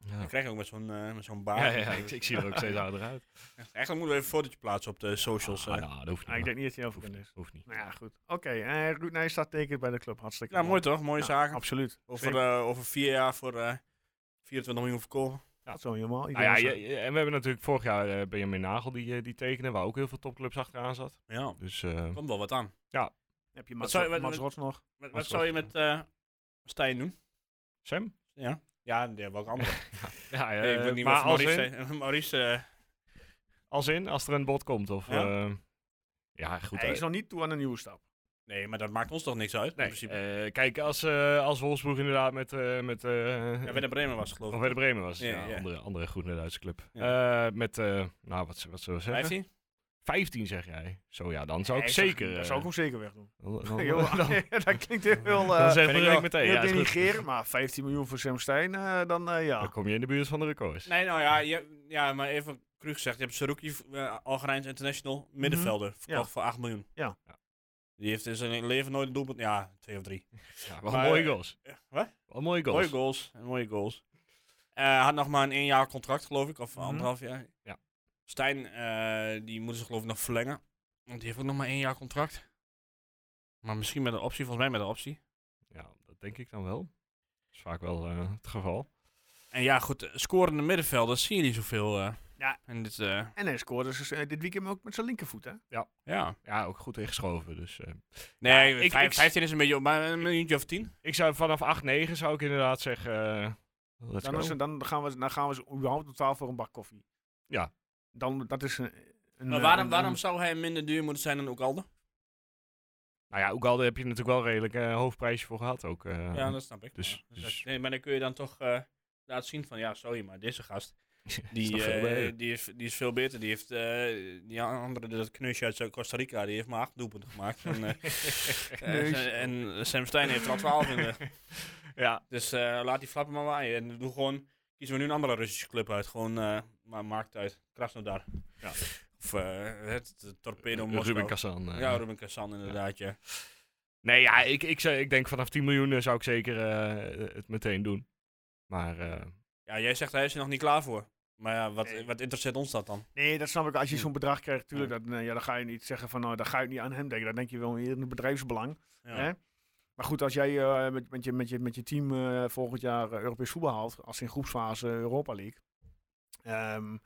Speaker 4: Ja.
Speaker 5: Dat krijg je ook met zo'n eh, met zo'n baard.
Speaker 4: Ja, ja, ik, ik zie er ook steeds ouder uit.
Speaker 5: Eigenlijk moeten we even een fotootje plaatsen op de socials. eh.
Speaker 4: Ah, nou, dat hoeft niet.
Speaker 1: Ah, ik
Speaker 4: hoor.
Speaker 1: denk niet dat hij heel
Speaker 4: hoeft
Speaker 1: bekend
Speaker 4: niet.
Speaker 1: is.
Speaker 4: Hoeft niet.
Speaker 1: Nou ja, goed. Oké, eh, Ruud Nijstad tekent bij de club. Hartstikke
Speaker 5: ja, mooi toch? Mooie
Speaker 1: Ja,
Speaker 5: zaken.
Speaker 1: Absoluut.
Speaker 5: Over, eh, over vier jaar voor eh 24 miljoen verkopen.
Speaker 1: Dat is wel helemaal.
Speaker 4: Nou ja, je- je- en we hebben natuurlijk vorig jaar eh, Benjamin Nagel die, eh, die tekenen, waar ook heel veel topclubs achteraan zat.
Speaker 5: Ja,
Speaker 4: Dus eh,
Speaker 5: komt wel wat aan.
Speaker 1: Heb je
Speaker 5: zou je-
Speaker 1: Mats
Speaker 5: wat-
Speaker 1: Mats
Speaker 5: wat-
Speaker 1: Rots nog?
Speaker 5: Wat,
Speaker 4: Wat
Speaker 5: zou je
Speaker 4: was-
Speaker 5: met eh Stijn doen?
Speaker 4: Sam?
Speaker 5: Ja, ja ja, welke andere?
Speaker 4: Ja,
Speaker 5: Nee, ik
Speaker 4: eh,
Speaker 5: weet niet
Speaker 4: maar
Speaker 5: wat
Speaker 4: als
Speaker 5: Maurice...
Speaker 4: in,
Speaker 5: eh, Maurice eh,
Speaker 4: als in, als er een bod komt. Of,
Speaker 5: Ja?
Speaker 4: ja? ja, goed.
Speaker 1: hij
Speaker 4: eh,
Speaker 1: is nog niet toe aan een nieuwe stap.
Speaker 5: nee, maar dat maakt ons toch niks uit?
Speaker 4: nee,
Speaker 5: in principe.
Speaker 4: eh, kijk, als, eh als Wolfsburg inderdaad met... eh met eh,
Speaker 5: ja, Werder Bremen was het, geloof
Speaker 4: of
Speaker 5: ik.
Speaker 4: Werder Bremen was het,
Speaker 5: Ja,
Speaker 4: ja,
Speaker 5: ja.
Speaker 4: Andere, andere goede Duitse club. Eh, met, eh, nou, wat, wat zullen we zeggen? 15?
Speaker 5: 15?
Speaker 4: zeg jij? Zo ja, dan zou ik
Speaker 1: Nee,
Speaker 4: zeker...
Speaker 1: Dat
Speaker 4: eh,
Speaker 1: zou ik hem zeker wegdoen.
Speaker 4: dan- dan-
Speaker 1: Heel-
Speaker 4: dan-
Speaker 1: dat klinkt heel... eh,
Speaker 4: Dan zegt
Speaker 5: vind ik
Speaker 4: Brink
Speaker 5: wel.
Speaker 4: meteen.
Speaker 1: heel
Speaker 4: Ja, is goed.
Speaker 1: denigreren, maar 15 miljoen voor Sam Stein, eh, dan eh, ja.
Speaker 4: Dan kom je in de buurt van de records.
Speaker 5: Nee, nou ja, je, ja, maar even cru gezegd. Je hebt Saruki, eh Algerijns International, middenvelder, verkocht voor 8 miljoen.
Speaker 1: Ja.
Speaker 4: Ja.
Speaker 5: Die heeft in zijn leven nooit een doelpunt... Ja, twee of drie.
Speaker 4: Ja, wel
Speaker 5: Maar,
Speaker 4: mooie goals.
Speaker 5: eh, wat?
Speaker 4: Wel mooie goals.
Speaker 5: Mooie goals. en Mooie goals. Eh, had nog maar een één jaar contract, geloof ik, of
Speaker 4: Mhm.
Speaker 5: anderhalf jaar.
Speaker 4: Ja.
Speaker 5: Stijn, eh, die moeten ze geloof ik nog verlengen. Want die heeft ook nog maar één jaar contract. Maar misschien met een optie, volgens mij met een optie.
Speaker 4: Ja, dat denk ik dan wel. Dat is vaak wel eh, het geval.
Speaker 5: En ja, goed, eh, scorende middenvelders zie je niet zoveel. eh
Speaker 1: Ja.
Speaker 5: En dit, eh,
Speaker 1: En hij scoorde dus, eh, dit weekend ook met zijn linkervoet, hè?
Speaker 5: ja.
Speaker 4: Ja, ook goed ingeschoven. Dus, eh,
Speaker 5: Nee,
Speaker 4: ik-
Speaker 5: vijf-
Speaker 4: ik-
Speaker 5: 15 is een beetje op, maar een minuutje of 10.
Speaker 4: ik zou vanaf 8-9 zou ik inderdaad zeggen. eh, let's
Speaker 1: Dan,
Speaker 4: go.
Speaker 1: is het- dan, gaan we, dan gaan we ze überhaupt totaal voor een bak koffie.
Speaker 4: Ja.
Speaker 1: Dan, dat is een... een
Speaker 5: Maar
Speaker 1: eh,
Speaker 5: waarom,
Speaker 1: een-
Speaker 5: waarom zou hij minder duur moeten zijn dan Oegalde?
Speaker 4: Nou ja, ook al heb je natuurlijk wel redelijk eh, hoofdprijsje voor gehad ook. eh.
Speaker 5: Ja, dat snap ik.
Speaker 4: dus-
Speaker 5: Ja,
Speaker 4: dus-
Speaker 5: als- nee, maar dan kun je dan toch eh, laten zien van, ja, sorry, maar deze gast,
Speaker 4: Is
Speaker 5: die,
Speaker 4: toch veel
Speaker 5: eh,
Speaker 4: beter.
Speaker 5: die, is, die is veel beter. Die heeft, eh, die andere, dat kneusje uit eh, Costa Rica, die heeft maar acht doelpunten gemaakt. en, eh, eh,
Speaker 1: Kneusje.
Speaker 5: en Sam Stein heeft er al twaalf in. de-
Speaker 4: ja,
Speaker 5: Dus eh, laat die flappen maar waaien. En doe gewoon, kiezen we nu een andere Russische club uit. Gewoon, eh, maar maakt uit. Krasnodar.
Speaker 4: Ja.
Speaker 5: Of eh, het, het Torpedo Moskou.
Speaker 4: Ruben Kassan. eh.
Speaker 5: Ja, Ruben Kassan inderdaad, ja.
Speaker 4: Nee, ja, ik, ik, zou- ik denk vanaf 10 miljoen eh, zou ik zeker eh, het meteen doen. Maar eh,
Speaker 5: Ja, jij zegt hij is er nog niet klaar voor. Maar ja, wat, wat interesseert ons dat dan?
Speaker 1: Nee, dat snap ik. Als je zo'n bedrag krijgt, tuurlijk, dat, nee, ja, dan ga je niet zeggen van, nou, dan ga je niet aan hem denken. Dan denk je wel weer in het bedrijfsbelang.
Speaker 5: Ja.
Speaker 1: Hè? Maar goed, als jij eh, met, met, je, met, je, met je team eh, volgend jaar eh, Europees voetbal haalt, als in groepsfase Europa League, ehm,
Speaker 4: ja,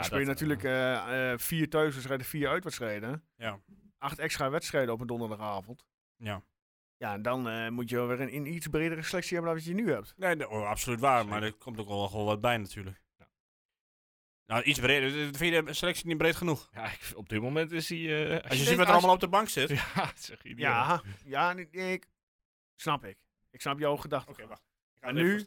Speaker 1: dan speel je
Speaker 4: dat,
Speaker 1: natuurlijk
Speaker 4: eh,
Speaker 1: eh, eh, vier thuiswedstrijden, vier uitwedstrijden.
Speaker 5: Ja.
Speaker 1: Acht extra wedstrijden op een donderdagavond.
Speaker 5: Ja.
Speaker 1: Ja, en dan eh, moet je wel weer een, een iets bredere selectie hebben dan wat je nu hebt.
Speaker 5: Nee, dat- oh, absoluut waar.
Speaker 4: Zeker.
Speaker 5: Maar er komt ook wel gewoon wat bij natuurlijk.
Speaker 4: Ja.
Speaker 5: Nou, iets breder. Vind je de selectie niet breed genoeg?
Speaker 4: ja, ik- op dit moment is hij. eh,
Speaker 5: Als je
Speaker 1: denkt
Speaker 5: ziet wat
Speaker 1: als-
Speaker 5: er allemaal op de bank zit.
Speaker 4: ja, zeg je
Speaker 1: Ja, ja, nee, nee, ik snap ik. Ik snap jouw gedachte.
Speaker 5: wacht. Ik
Speaker 1: Maar nu-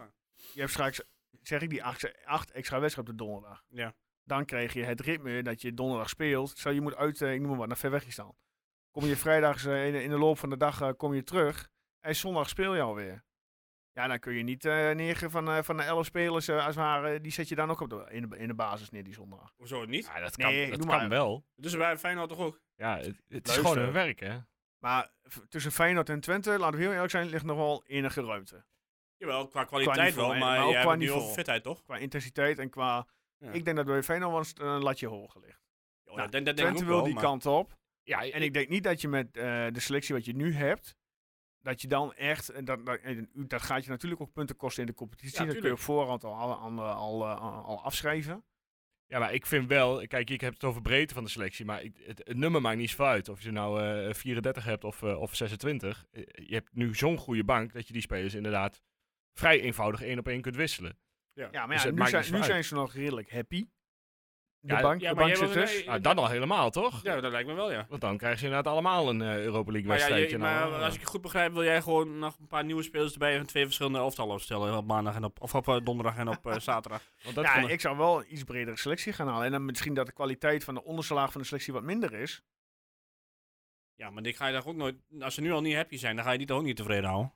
Speaker 1: Je hebt straks, zeg ik, die acht, acht extra wedstrijden op de donderdag.
Speaker 5: Ja.
Speaker 1: Dan krijg je het ritme dat je donderdag speelt. Stel, je moet uit, eh, ik noem maar wat, naar Verwegistan. Kom je vrijdags eh, in, de- in de loop van de dag eh, kom je terug. En zondag speel je alweer. Ja, dan kun je niet eh negen van, eh, van de elf spelers, eh, als het ware, die zet je dan ook op de, in, de, in de basis neer die zondag.
Speaker 5: Hoezo niet?
Speaker 4: Ja, dat kan,
Speaker 1: Nee,
Speaker 4: dat
Speaker 1: doe
Speaker 4: kan
Speaker 1: maar.
Speaker 4: wel.
Speaker 5: Dus bij Feyenoord toch ook?
Speaker 4: Ja, het, het is
Speaker 1: Luister.
Speaker 4: gewoon hun werk, hè?
Speaker 1: Maar v- tussen Feyenoord en Twente, laten we heel eerlijk zijn, ligt nog wel enige ruimte.
Speaker 5: Jawel, qua kwaliteit
Speaker 1: niveau,
Speaker 5: wel.
Speaker 1: hè,
Speaker 5: Maar,
Speaker 1: maar ook
Speaker 5: jij hebt
Speaker 1: qua
Speaker 5: het nu
Speaker 1: niveau.
Speaker 5: over fitheid toch?
Speaker 1: Qua intensiteit en qua...
Speaker 5: Ja.
Speaker 1: Ik denk dat bij Feyenoord wel een st- een latje hoger ligt.
Speaker 5: Ja,
Speaker 1: Nou,
Speaker 5: dat- dat denk ik
Speaker 1: Twente
Speaker 5: ook
Speaker 1: wil
Speaker 5: wel,
Speaker 1: die
Speaker 5: maar-
Speaker 1: kant op.
Speaker 4: Ja,
Speaker 1: En ik denk niet dat je met eh, de selectie wat je nu hebt, dat je dan echt, en dat, dat, en dat gaat je natuurlijk ook punten kosten in de competitie.
Speaker 5: Ja,
Speaker 1: dat kun je op
Speaker 5: tuurlijk.
Speaker 1: voorhand al, al, al, al, eh, al afschrijven.
Speaker 4: Ja, maar ik vind wel, kijk, ik heb het over breedte van de selectie, maar ik- het, het nummer maakt niet zoveel uit. Of je nou eh, 34 hebt of, eh, of 26. Eh, Je hebt nu zo'n goede bank dat je die spelers inderdaad vrij eenvoudig één op één kunt wisselen.
Speaker 1: Ja, maar
Speaker 4: Dus
Speaker 1: ja,
Speaker 4: het
Speaker 1: nu,
Speaker 4: maakt
Speaker 1: zijn,
Speaker 4: niet zo
Speaker 1: nu
Speaker 4: uit.
Speaker 1: zijn ze nog redelijk happy. De
Speaker 4: Ja,
Speaker 1: bank,
Speaker 5: ja,
Speaker 1: de
Speaker 5: maar
Speaker 1: bank
Speaker 5: jij
Speaker 1: zit
Speaker 5: wil-
Speaker 1: dus.
Speaker 5: nee,
Speaker 4: Nou, dan al helemaal, toch?
Speaker 5: Ja, dat lijkt me wel, ja.
Speaker 4: Want dan krijgen ze inderdaad allemaal een eh, Europa League
Speaker 5: Maar, ja,
Speaker 4: wedstrijdje.
Speaker 5: je- maar
Speaker 4: nou, eh.
Speaker 5: als ik het goed begrijp, wil jij gewoon nog een paar nieuwe spelers erbij en twee verschillende elftallen opstellen. Op maandag en op, of op eh, donderdag en op eh, zaterdag.
Speaker 4: Want dat
Speaker 1: ja,
Speaker 4: kan-
Speaker 1: ik zou wel een iets bredere selectie gaan halen. En dan misschien dat de kwaliteit van de onderste laag van de selectie wat minder is.
Speaker 5: Ja, maar ik ga je daar ook nooit. Als ze nu al niet happy zijn, dan ga je die toch ook niet tevreden houden.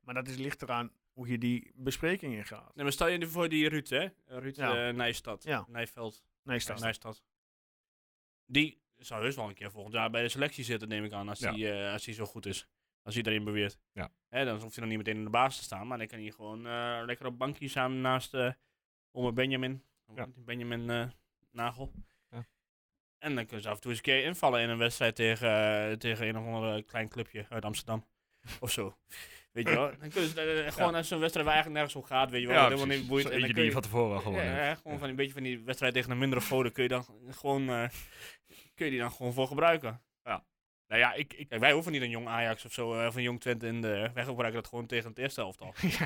Speaker 1: Maar dat is ligt eraan hoe je die bespreking ingaat.
Speaker 5: Nee, maar stel je nu voor die Ruud, hè? Ruud
Speaker 1: Ja.
Speaker 5: eh, Nijstad.
Speaker 1: Ja.
Speaker 5: Nijveld.
Speaker 1: Nee, staat.
Speaker 5: Nijstad. Die zou heus wel een keer volgend jaar bij de selectie zitten, neem ik aan. Als
Speaker 4: Ja.
Speaker 5: die, eh, als die zo goed is. Als iedereen beweert.
Speaker 4: Ja.
Speaker 5: Hè, dan hoeft hij nog niet meteen in de baas te staan. Maar dan kan hij gewoon eh, lekker op bankje samen naast eh Ome Benjamin.
Speaker 4: Ja.
Speaker 5: Benjamin eh, Nagel.
Speaker 4: Ja.
Speaker 5: En dan kunnen ze af en toe eens een keer invallen in een wedstrijd tegen, eh, tegen een of ander klein clubje uit Amsterdam. of zo. Weet je wel? Dan kunnen ze eh, gewoon naar zo'n wedstrijd waar eigenlijk nergens om gaat. Weet je wel?
Speaker 4: ja,
Speaker 5: wat helemaal
Speaker 4: precies.
Speaker 5: niet boeit.
Speaker 4: Zo
Speaker 5: En dan
Speaker 4: eentje
Speaker 5: kun
Speaker 4: die
Speaker 5: je-
Speaker 4: je van tevoren al gewoon. eh,
Speaker 5: ja,
Speaker 4: hebt.
Speaker 5: ja, gewoon van een beetje van die wedstrijd tegen een mindere foe, daar kun je dan gewoon, eh, kun je die dan gewoon voor gebruiken.
Speaker 4: Nou ja, ik, ik,
Speaker 5: Kijk, wij hoeven niet een jong Ajax of zo, eh, of een jong Twente in de weg gebruiken dat gewoon tegen het eerste elftal.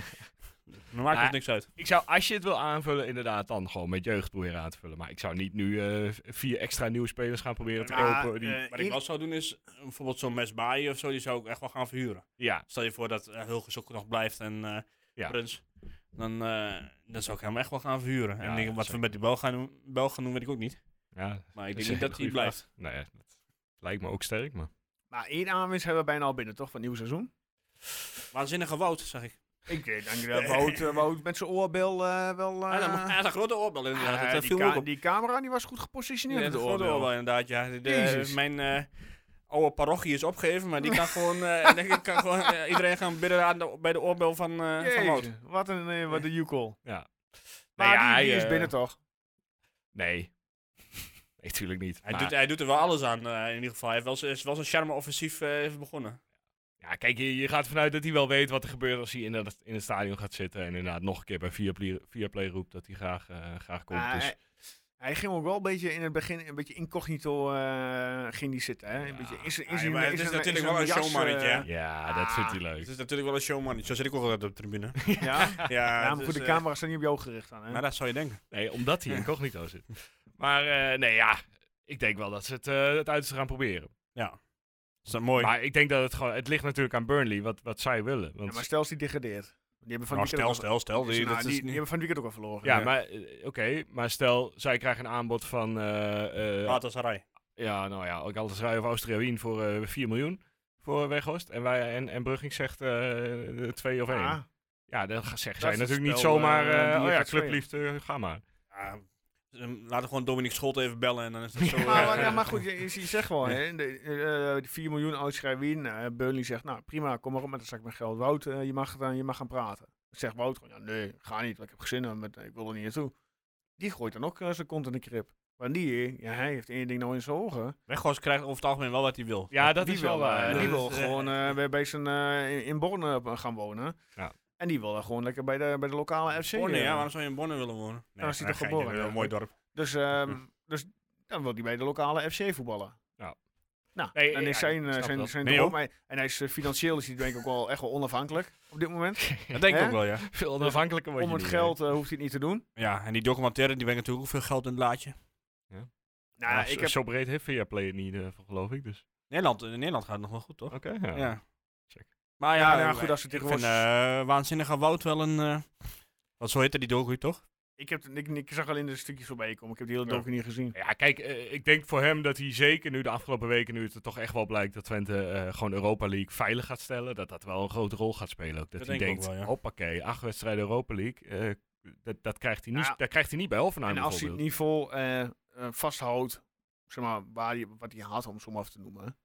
Speaker 4: Ja.
Speaker 5: Dan maakt
Speaker 4: Maar-
Speaker 5: het niks uit.
Speaker 4: ik zou, als je het wil aanvullen, inderdaad dan gewoon met jeugd proberen aan te vullen. Maar ik zou niet nu eh, v- vier extra nieuwe spelers gaan proberen te
Speaker 1: Maar,
Speaker 4: kopen. Die,
Speaker 1: eh,
Speaker 5: Wat ik wel zou doen is, eh, bijvoorbeeld zo'n Mesbaai of zo, die zou ik echt wel gaan verhuren.
Speaker 4: ja,
Speaker 5: Stel je voor dat eh, Hulges ook nog blijft en eh
Speaker 4: Ja.
Speaker 5: Prins. Dan, eh, dan zou ik hem echt wel gaan verhuren. en
Speaker 4: Ja,
Speaker 5: ik- wat
Speaker 4: zeker.
Speaker 5: we met die Bel gaan, doen, Bel gaan doen, weet ik ook niet.
Speaker 4: ja,
Speaker 5: Maar ik
Speaker 4: Dat is
Speaker 5: denk niet
Speaker 4: een
Speaker 5: dat hij
Speaker 4: goede
Speaker 5: blijft.
Speaker 4: Nou ja, dat lijkt me ook sterk, maar...
Speaker 1: Maar één aanwinst hebben we bijna al binnen, toch? Van het nieuwe seizoen.
Speaker 5: Waanzinnige Wout, zeg ik.
Speaker 1: Ik eh, denk dat Wout, eh, Wout met zijn oorbel eh, wel...
Speaker 5: Hij had
Speaker 1: eh,
Speaker 5: een- Ah, hij had een grote oorbel inderdaad.
Speaker 1: eh,
Speaker 5: dat
Speaker 1: die,
Speaker 5: viel me
Speaker 1: ka-
Speaker 5: ook op.
Speaker 1: die camera die was goed
Speaker 5: Nee,
Speaker 1: gepositioneerd.
Speaker 5: dat
Speaker 1: met
Speaker 5: is
Speaker 1: de
Speaker 5: wel
Speaker 1: oorbel.
Speaker 5: wel inderdaad, ja. De- de-
Speaker 1: Jezus.
Speaker 5: mijn eh, oude parochie is opgegeven, maar die kan gewoon, eh, denk ik kan gewoon eh, iedereen gaan bidden aan de, bij de oorbel van, eh van Wout.
Speaker 1: Jezus, wat een, eh, wat een joekel.
Speaker 4: Ja.
Speaker 1: Maar
Speaker 4: Nee, ja,
Speaker 1: die, die
Speaker 4: hij,
Speaker 1: is
Speaker 4: eh,
Speaker 1: binnen toch?
Speaker 4: Nee. nee, tuurlijk niet.
Speaker 5: Hij,
Speaker 4: Maar-
Speaker 5: doet, hij doet er wel alles aan, eh, in ieder geval. Hij heeft wel, z- is wel zijn charme offensief eh, even begonnen.
Speaker 4: Ja, kijk, je, je gaat ervan uit dat hij wel weet wat er gebeurt als hij in, dat, in het stadion gaat zitten. En inderdaad nog een keer bij Viaplay, Viaplay roept dat hij graag, eh, graag komt.
Speaker 1: Ah,
Speaker 4: dus,
Speaker 1: hij, hij ging ook wel een beetje in het begin een beetje incognito eh, ging die zitten. Hè? Een beetje, is, is,
Speaker 5: Ah,
Speaker 1: hij-
Speaker 5: maar het is
Speaker 1: er-
Speaker 5: natuurlijk
Speaker 1: er
Speaker 5: wel een
Speaker 1: jas, eh,
Speaker 5: showmannetje, hè?
Speaker 4: ja, dat vindt hij leuk.
Speaker 1: Ah.
Speaker 5: Het is natuurlijk wel een showman. Zo zit ik ook altijd op de tribune.
Speaker 1: Ja,
Speaker 5: ja,
Speaker 1: ja maar
Speaker 5: dus,
Speaker 1: goed, de
Speaker 5: eh,
Speaker 1: camera staat niet op jou gericht aan. Hè?
Speaker 5: Maar dat zou je denken.
Speaker 4: Nee, omdat hij incognito zit. Maar eh, nee, ja, ik denk wel dat ze het, eh, het uiterste gaan proberen.
Speaker 5: Is dat mooi?
Speaker 4: Maar ik denk dat het gewoon, het ligt natuurlijk aan Burnley, wat, wat zij willen.
Speaker 1: Ja,
Speaker 4: Want,
Speaker 1: maar stel als die degradeert. Die hebben van
Speaker 5: Nou,
Speaker 1: het weekend
Speaker 5: stel,
Speaker 1: ook
Speaker 5: stel, stel.
Speaker 1: al-
Speaker 5: Die,
Speaker 1: nou,
Speaker 5: dat
Speaker 1: die-
Speaker 5: is
Speaker 1: die
Speaker 5: niet-
Speaker 1: hebben van het weekend ook wel verloren.
Speaker 4: ja,
Speaker 5: ja.
Speaker 4: maar eh, oké, maar stel, zij krijgen een aanbod van, eh,
Speaker 1: Ah,
Speaker 4: eh,
Speaker 5: Galatasaray.
Speaker 4: ja, nou ja, ook Altasraai of Austria Wien voor eh 4 miljoen voor Weghorst. En, wij, en, en Brugging zegt 2 of 1.
Speaker 1: Ah,
Speaker 4: Ja, dan ga- zeggen
Speaker 1: Dat
Speaker 4: zij
Speaker 1: is het
Speaker 4: natuurlijk niet
Speaker 1: spel,
Speaker 4: zomaar,
Speaker 1: eh,
Speaker 4: eh,
Speaker 1: die je
Speaker 4: oh ja,
Speaker 1: gaat spelen.
Speaker 4: clubliefde, ga maar.
Speaker 5: Ja, ehm, laten we gewoon Dominic Scholt even bellen en dan is dat zo.
Speaker 1: Maar,
Speaker 5: eh,
Speaker 1: maar- ja, maar goed, je, je- je zegt wel, hè, de, eh, die 4 miljoen uitschrijven win. eh, Burnley zegt, nou prima, kom maar op met een zak met geld. Wout, eh, je, mag, het aan- je mag gaan praten. Zegt Wout gewoon, ja, nee, ga niet, want ik heb gezinnen, met, ik wil er niet naartoe. Die gooit dan ook eh, zijn kont in de krip. Maar die, eh, ja, hij heeft één ding nou in zijn ogen.
Speaker 5: Weghorst krijgt over het algemeen wel wat hij wil.
Speaker 4: Ja, dat
Speaker 1: die
Speaker 4: is wel waar.
Speaker 1: eh,
Speaker 5: dat
Speaker 1: die
Speaker 5: is,
Speaker 1: wil
Speaker 5: eh,
Speaker 1: gewoon eh, weer bij zijn, eh, in- in Borne eh, gaan wonen.
Speaker 4: Ja.
Speaker 1: En die wil dan gewoon lekker bij de, bij de lokale FC.
Speaker 5: Bonne,
Speaker 1: eh,
Speaker 5: ja, waarom zou je in Bonne willen wonen? Nee,
Speaker 1: is hij
Speaker 5: dat
Speaker 1: toch
Speaker 5: geintje,
Speaker 1: geboren,
Speaker 5: dat is een mooi dorp.
Speaker 1: Dus, ehm, dus dan wil hij bij de lokale FC voetballen.
Speaker 4: Ja.
Speaker 1: Nou,
Speaker 4: Nee,
Speaker 1: dan
Speaker 4: ja,
Speaker 1: is zijn,
Speaker 4: ik
Speaker 1: eh,
Speaker 4: snap
Speaker 1: zijn,
Speaker 4: dat.
Speaker 1: zijn
Speaker 5: Nee,
Speaker 1: droom-
Speaker 5: joh.
Speaker 1: hij- en hij is eh, financieel is hij denk ik ook wel echt wel onafhankelijk op dit moment.
Speaker 5: Dat denk ik
Speaker 1: Hè?
Speaker 5: ook wel, ja.
Speaker 4: Veel onafhankelijker word
Speaker 1: Om
Speaker 4: je
Speaker 1: het
Speaker 4: niet, hè.
Speaker 1: geld eh, hoeft hij het niet te doen.
Speaker 5: Ja, en die documentaire, die brengt natuurlijk ook veel geld in het laadje.
Speaker 1: Nou,
Speaker 4: Ja,
Speaker 1: ik
Speaker 4: zo-
Speaker 1: heb,
Speaker 4: Zo breed heeft Viaplay het niet, eh, geloof ik, dus.
Speaker 5: Nederland, in Nederland gaat het nog wel goed, toch?
Speaker 4: Oké,
Speaker 5: Ja.
Speaker 4: ja. Check.
Speaker 5: Maar
Speaker 1: Ja,
Speaker 5: ja,
Speaker 1: nou ja,
Speaker 5: eh,
Speaker 1: goed, als ze
Speaker 5: ik
Speaker 1: tegenwoordig-
Speaker 5: vind eh, Waanzinnige Wout wel een... eh, wat zo heette die docu, toch?
Speaker 1: ik, heb, ik, ik zag alleen de stukjes voorbij komen. Ik heb die hele
Speaker 5: Ja.
Speaker 1: docu niet gezien.
Speaker 4: Ja, kijk, eh, ik denk voor hem dat hij zeker nu de afgelopen weken, nu het er toch echt wel blijkt dat Twente eh, gewoon Europa League veilig gaat stellen, dat dat wel een grote rol gaat spelen. Ook. Dat,
Speaker 5: Dat
Speaker 4: hij
Speaker 5: denk ik
Speaker 4: denkt,
Speaker 5: ook wel, ja.
Speaker 4: hoppakee, acht wedstrijden Europa League, eh, dat, dat, krijgt hij niet,
Speaker 1: Ja.
Speaker 4: dat krijgt hij niet bij Hoffenheim
Speaker 1: Nou, en als hij het
Speaker 4: nou, bijvoorbeeld.
Speaker 1: niveau eh, eh, vasthoudt, zeg maar, waar hij, wat hij haat om het zo maar af te noemen.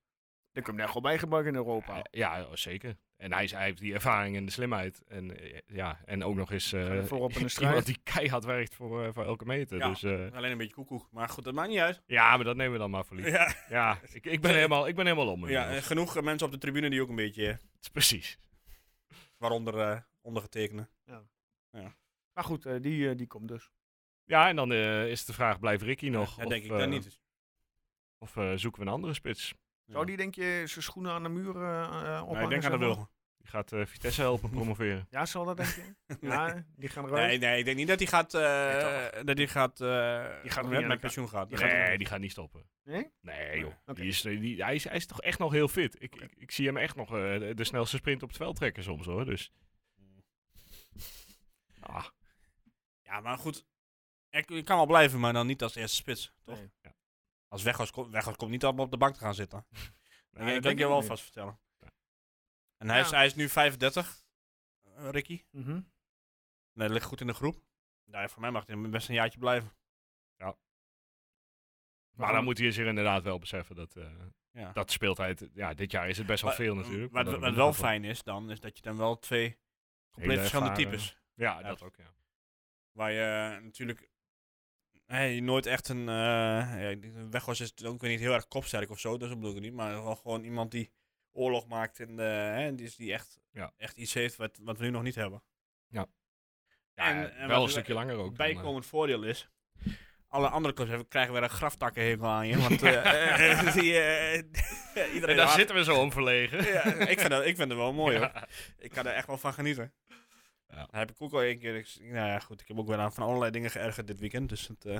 Speaker 1: Dan kun je hem daar gewoon bij gebruiken in Europa.
Speaker 4: Eh, ja, oh, zeker. En hij, is, hij heeft die ervaring en de slimheid. En, eh, ja, en ook nog eens eh,
Speaker 1: Ga voorop in de strijd.
Speaker 4: iemand die keihard werkt voor, eh, voor elke meter.
Speaker 5: Ja.
Speaker 4: Dus, eh,
Speaker 5: Alleen een beetje koekoek, maar goed, dat maakt niet uit.
Speaker 4: ja, maar dat nemen we dan maar voor lief.
Speaker 5: Ja,
Speaker 4: Ja, ik, ik, ben, helemaal, ik ben helemaal om.
Speaker 5: ja
Speaker 4: inmiddels.
Speaker 5: en genoeg eh, mensen op de tribune die ook een beetje... eh,
Speaker 4: Precies.
Speaker 5: waaronder eh, ondergetekende.
Speaker 1: Maar goed, eh, die, eh, die komt dus.
Speaker 4: Ja, en dan eh, is de vraag, blijft Ricky nog?
Speaker 5: Dat
Speaker 4: of,
Speaker 5: denk ik
Speaker 4: eh,
Speaker 5: dan niet.
Speaker 4: Of eh, zoeken we een andere spits?
Speaker 1: Zou die denk je zijn schoenen aan de muur eh, eh, ophangen?
Speaker 5: Maar ik denk aan de
Speaker 1: zeg maar?
Speaker 5: wil.
Speaker 4: Die gaat eh, Vitesse helpen promoveren.
Speaker 1: Ja, zal dat denk je? Ja, die gaan eruit.
Speaker 5: Nee, nee, ik denk niet dat hij gaat. eh, dat hij gaat. eh,
Speaker 1: Die gaat
Speaker 5: met,
Speaker 1: niet aan
Speaker 5: met
Speaker 1: de-
Speaker 5: pensioen gaat.
Speaker 1: die
Speaker 5: Nee.
Speaker 1: gaat-
Speaker 4: nee, die gaat niet stoppen.
Speaker 1: Nee?
Speaker 4: Nee, joh.
Speaker 1: Oké.
Speaker 4: Die is, eh, die, hij, is, hij is toch echt nog heel fit. Ik, ik, ik zie hem echt nog eh, de, de snelste sprint op het veld trekken soms, hoor. Dus... Ah,
Speaker 5: Ja, maar goed. Ik, ik kan wel blijven, maar dan niet als eerste spits. Toch?
Speaker 1: Nee.
Speaker 4: Ja.
Speaker 5: Als Weghorst komt, Weghorst komt niet allemaal op de bank te gaan zitten.
Speaker 1: Nee,
Speaker 5: dat kan
Speaker 1: dat
Speaker 5: ik
Speaker 1: denk
Speaker 5: je
Speaker 1: ik
Speaker 5: wel
Speaker 1: niet.
Speaker 5: vast vertellen.
Speaker 4: Ja.
Speaker 5: En hij,
Speaker 1: Ja.
Speaker 5: is, hij is nu 35, eh, Ricky.
Speaker 1: Mhm.
Speaker 5: Nee, dat ligt goed in de groep. Nou ja, voor mij mag hij best een jaartje blijven.
Speaker 4: maar dan moet hij zich inderdaad wel beseffen dat, eh
Speaker 5: Ja.
Speaker 4: dat speeltijd... Ja, dit jaar is het best wel veel natuurlijk.
Speaker 5: Wat,
Speaker 4: maar
Speaker 5: wat,
Speaker 4: dat-
Speaker 5: wel
Speaker 4: dat-
Speaker 5: fijn is dan, is dat je dan wel twee compleet
Speaker 4: Hele
Speaker 5: verschillende
Speaker 4: ervaren-
Speaker 5: types.
Speaker 4: Ja, dat ook, ja.
Speaker 5: Waar je eh, natuurlijk hey, nooit echt een. eh, ja, ik denk, Weghorst is ook weer niet heel erg kopsterk of zo, dat bedoel ik niet. Maar wel gewoon iemand die oorlog maakt en eh, hè, dus die echt,
Speaker 4: Ja.
Speaker 5: echt iets heeft wat, wat we nu nog niet hebben.
Speaker 4: Ja,
Speaker 5: En-
Speaker 4: wel
Speaker 5: en wat
Speaker 4: een
Speaker 5: we-
Speaker 4: stukje langer ook.
Speaker 5: Het
Speaker 4: dan, eh.
Speaker 5: bijkomend voordeel is. Alle andere clubs hebben, krijgen weer een graftakkenhekel aan je. Want eh, eh, die, eh,
Speaker 4: En
Speaker 5: iedereen
Speaker 4: daar
Speaker 5: haat-
Speaker 4: zitten we zo om verlegen.
Speaker 5: Ja, ik, vind dat, ik vind het wel mooi hoor. Ik kan er echt wel van genieten.
Speaker 4: Ja.
Speaker 5: Daar heb ik ook al één keer. ik- nou ja, goed. Ik heb ook weer aan van allerlei dingen geërgerd dit weekend. Dus het. eh,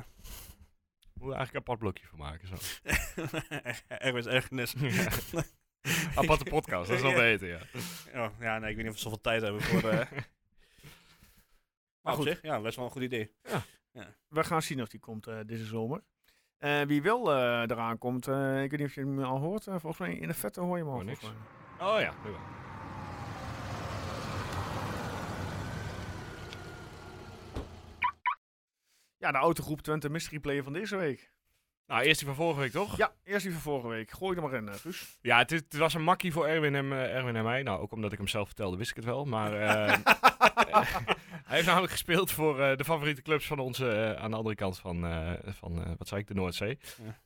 Speaker 4: Moet er eigenlijk een apart blokje van maken. Zo.
Speaker 5: ergens ergernis.
Speaker 4: Aparte podcast, dat is wel
Speaker 5: Ja.
Speaker 4: beter, ja.
Speaker 5: Oh, ja, nee, ik weet niet of we zoveel tijd hebben voor. eh, maar
Speaker 1: goed.
Speaker 5: goed, ja, best wel een goed idee.
Speaker 1: We gaan zien of die komt eh, deze zomer. Eh, wie wel eh, eraan komt, eh, ik weet niet of je hem al hoort. eh, volgens mij in de vette hoor je hem al.
Speaker 4: Hoor niks.
Speaker 1: volgens mij.
Speaker 4: Oh ja, nu wel.
Speaker 1: Ja, de autogroep Twente Mystery Player van deze week.
Speaker 4: Nou, eerst die van vorige week, toch?
Speaker 1: Ja, eerst die van vorige week. Gooi er maar in, eh, Guus.
Speaker 4: Ja, het, is- het was een makkie voor Erwin en, eh, Erwin en mij. Nou, ook omdat ik hem zelf vertelde, wist ik het wel. Maar eh, Hij heeft namelijk gespeeld voor eh, de favoriete clubs van onze, eh, aan de andere kant van, eh, van eh, wat zei ik, de Noordzee.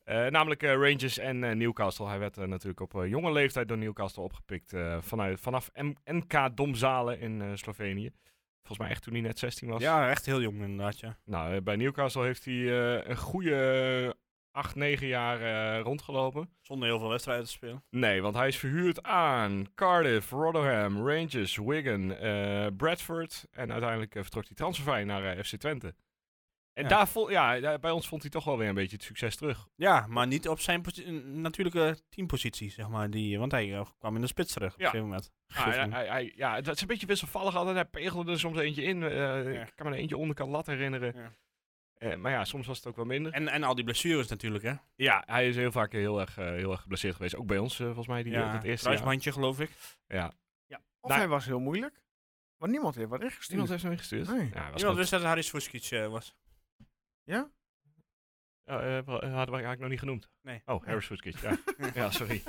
Speaker 4: Eh, namelijk eh, Rangers en eh, Newcastle. Hij werd eh, natuurlijk op eh, jonge leeftijd door Newcastle opgepikt eh, vanuit, vanaf M- NK Domzalen in eh, Slovenië. Volgens mij echt toen hij net 16 was.
Speaker 5: Ja, echt heel jong inderdaad, ja.
Speaker 4: Nou, eh, bij Newcastle heeft hij eh, een goede 8, 9 jaar eh, rondgelopen.
Speaker 5: Zonder heel veel wedstrijden te spelen.
Speaker 4: Nee, want hij is verhuurd aan Cardiff, Rotherham, Rangers, Wigan, eh, Bradford. En uiteindelijk eh, vertrok hij transfervrij naar eh, FC Twente. En
Speaker 5: Ja.
Speaker 4: daar vond, ja, daar- bij ons vond hij toch wel weer een beetje het succes terug.
Speaker 5: Ja, maar niet op zijn posi- natuurlijke teampositie, zeg maar. Die, want hij eh, kwam in de spits terug op
Speaker 4: Ja.
Speaker 5: een gegeven moment.
Speaker 4: Ah, hij,
Speaker 5: Griffin.
Speaker 4: hij- hij- ja, dat is een beetje wisselvallig altijd. Hij pegelde er soms eentje in. eh,
Speaker 5: Ja.
Speaker 4: Ik kan me er eentje onderkant lat herinneren.
Speaker 5: Ja.
Speaker 4: Eh, maar ja, soms was het ook wel minder.
Speaker 5: En, en al die blessures natuurlijk, hè.
Speaker 4: ja, hij is heel vaak heel erg, eh, heel erg geblesseerd geweest. Ook bij ons, eh, volgens mij, die, dat eerste jaar.
Speaker 5: kruisbandje, geloof ik.
Speaker 4: Ja.
Speaker 1: Of
Speaker 4: Nou-
Speaker 1: hij was heel moeilijk. Want niemand heeft wat ingestuurd.
Speaker 4: Iemand heeft hem ingestuurd.
Speaker 1: Nee.
Speaker 4: Ja, was
Speaker 5: Iemand
Speaker 4: goed.
Speaker 5: wist dat het Haris Vuskic eh, was.
Speaker 4: Ja, eh, wa- hadden we eigenlijk nog niet genoemd.
Speaker 5: Nee.
Speaker 4: Oh, Harris Woodkitch, ja. ja, sorry.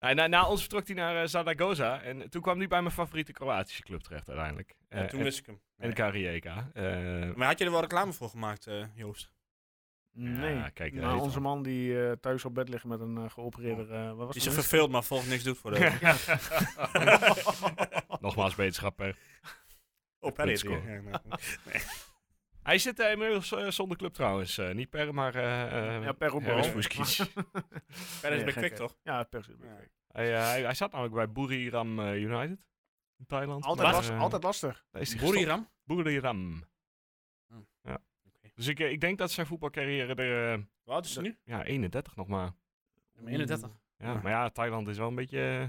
Speaker 4: Nou, na, na ons vertrok hij naar eh, Zaragoza en toen kwam hij bij mijn favoriete Kroatische club terecht uiteindelijk.
Speaker 5: Ja, toen wist ik hem.
Speaker 4: eh, En Karijeka. Eh,
Speaker 5: Maar had je er wel reclame voor gemaakt, eh, Joost?
Speaker 1: Nee.
Speaker 4: Ja, kijk, daar
Speaker 1: nou,
Speaker 4: heeft Oh.
Speaker 1: onze
Speaker 4: hij.
Speaker 1: man die eh, thuis op bed ligt met een eh, geopereerde... eh, wat was
Speaker 5: Die
Speaker 1: het
Speaker 5: zich
Speaker 1: nou?
Speaker 5: verveelt, maar volgens niks doet voor de...
Speaker 4: Nogmaals wetenschap. hè.
Speaker 5: Op
Speaker 4: Goed
Speaker 5: Elliot,
Speaker 4: score.
Speaker 5: ja, nou, goed.
Speaker 4: Hij zit eh, inmiddels eh, zonder club trouwens. Eh, niet per, maar eh eh,
Speaker 1: Ja, per op
Speaker 4: Harris
Speaker 1: bal.
Speaker 4: Woodkitsch.
Speaker 5: Verder
Speaker 1: Nee,
Speaker 5: is bij
Speaker 1: gek,
Speaker 5: Kwik,
Speaker 1: hè.
Speaker 5: toch?
Speaker 1: Ja, per
Speaker 5: Ja.
Speaker 4: hij, eh, hij, hij zat namelijk bij Buriram eh, United in Thailand.
Speaker 1: Altijd,
Speaker 4: Maar,
Speaker 1: last,
Speaker 4: eh,
Speaker 1: altijd lastig.
Speaker 4: daar is hij gestopt.
Speaker 5: Buriram?
Speaker 4: Buriram.
Speaker 5: Hmm.
Speaker 4: Ja.
Speaker 5: Oké.
Speaker 4: Dus ik, eh, ik denk dat zijn voetbalcarrière er... eh,
Speaker 5: Hoe oud is hij nu?
Speaker 4: Ja, 31 nog maar.
Speaker 1: Nummer 31.
Speaker 4: Ja,
Speaker 5: Ja.
Speaker 4: Maar ja, Thailand is wel een beetje... eh,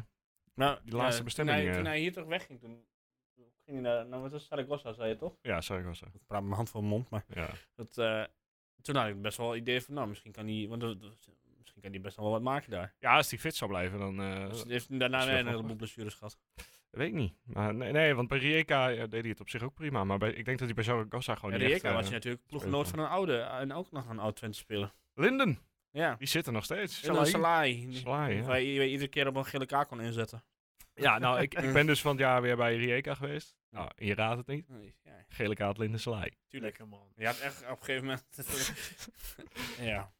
Speaker 5: Nou,
Speaker 4: Die laatste
Speaker 5: ja,
Speaker 4: bestemming,
Speaker 5: Toen hij,
Speaker 4: eh.
Speaker 5: toen hij hier toch wegging, toen toen ging hij naar... Nou, wat was Saragossa, zei je toch?
Speaker 4: ja, Zaragoza.
Speaker 5: Ik praat met mijn hand voor mijn mond, maar...
Speaker 4: Ja.
Speaker 5: Dat, eh, toen had ik best wel het idee van, nou, misschien kan hij... Want dat- dat- misschien kan hij best wel wat maken daar.
Speaker 4: ja, als hij fit zou blijven, dan... eh,
Speaker 5: Dus hij heeft
Speaker 4: is
Speaker 5: daarna
Speaker 4: wel
Speaker 5: weer een
Speaker 4: grappig.
Speaker 5: heleboel blessures gehad.
Speaker 4: weet ik niet. Maar nee, nee, want bij Rijeka ja, deed hij het op zich ook prima. Maar bij, ik denk dat hij bij Zaragoza gewoon
Speaker 5: En
Speaker 4: niet
Speaker 5: Rijeka
Speaker 4: echt, eh,
Speaker 5: was hij natuurlijk ploeggenoot van een oude... En ook nog een oud Twente speler.
Speaker 4: Linden!
Speaker 5: Ja.
Speaker 4: Die zit er nog steeds.
Speaker 5: En dan
Speaker 1: Salai.
Speaker 5: Salai. die-
Speaker 4: Slaai,
Speaker 5: Of
Speaker 4: ja.
Speaker 5: hij i- iedere keer op een gele kaart kon inzetten.
Speaker 4: ja, nou, ik, ik ben dus van het jaar weer bij Rijeka geweest. Nou, je raadt het niet.
Speaker 5: Ja,
Speaker 4: Gele kaart, Linden, Slaai.
Speaker 5: tuurlijk.
Speaker 1: man.
Speaker 5: Je had echt op een gegeven moment... ja.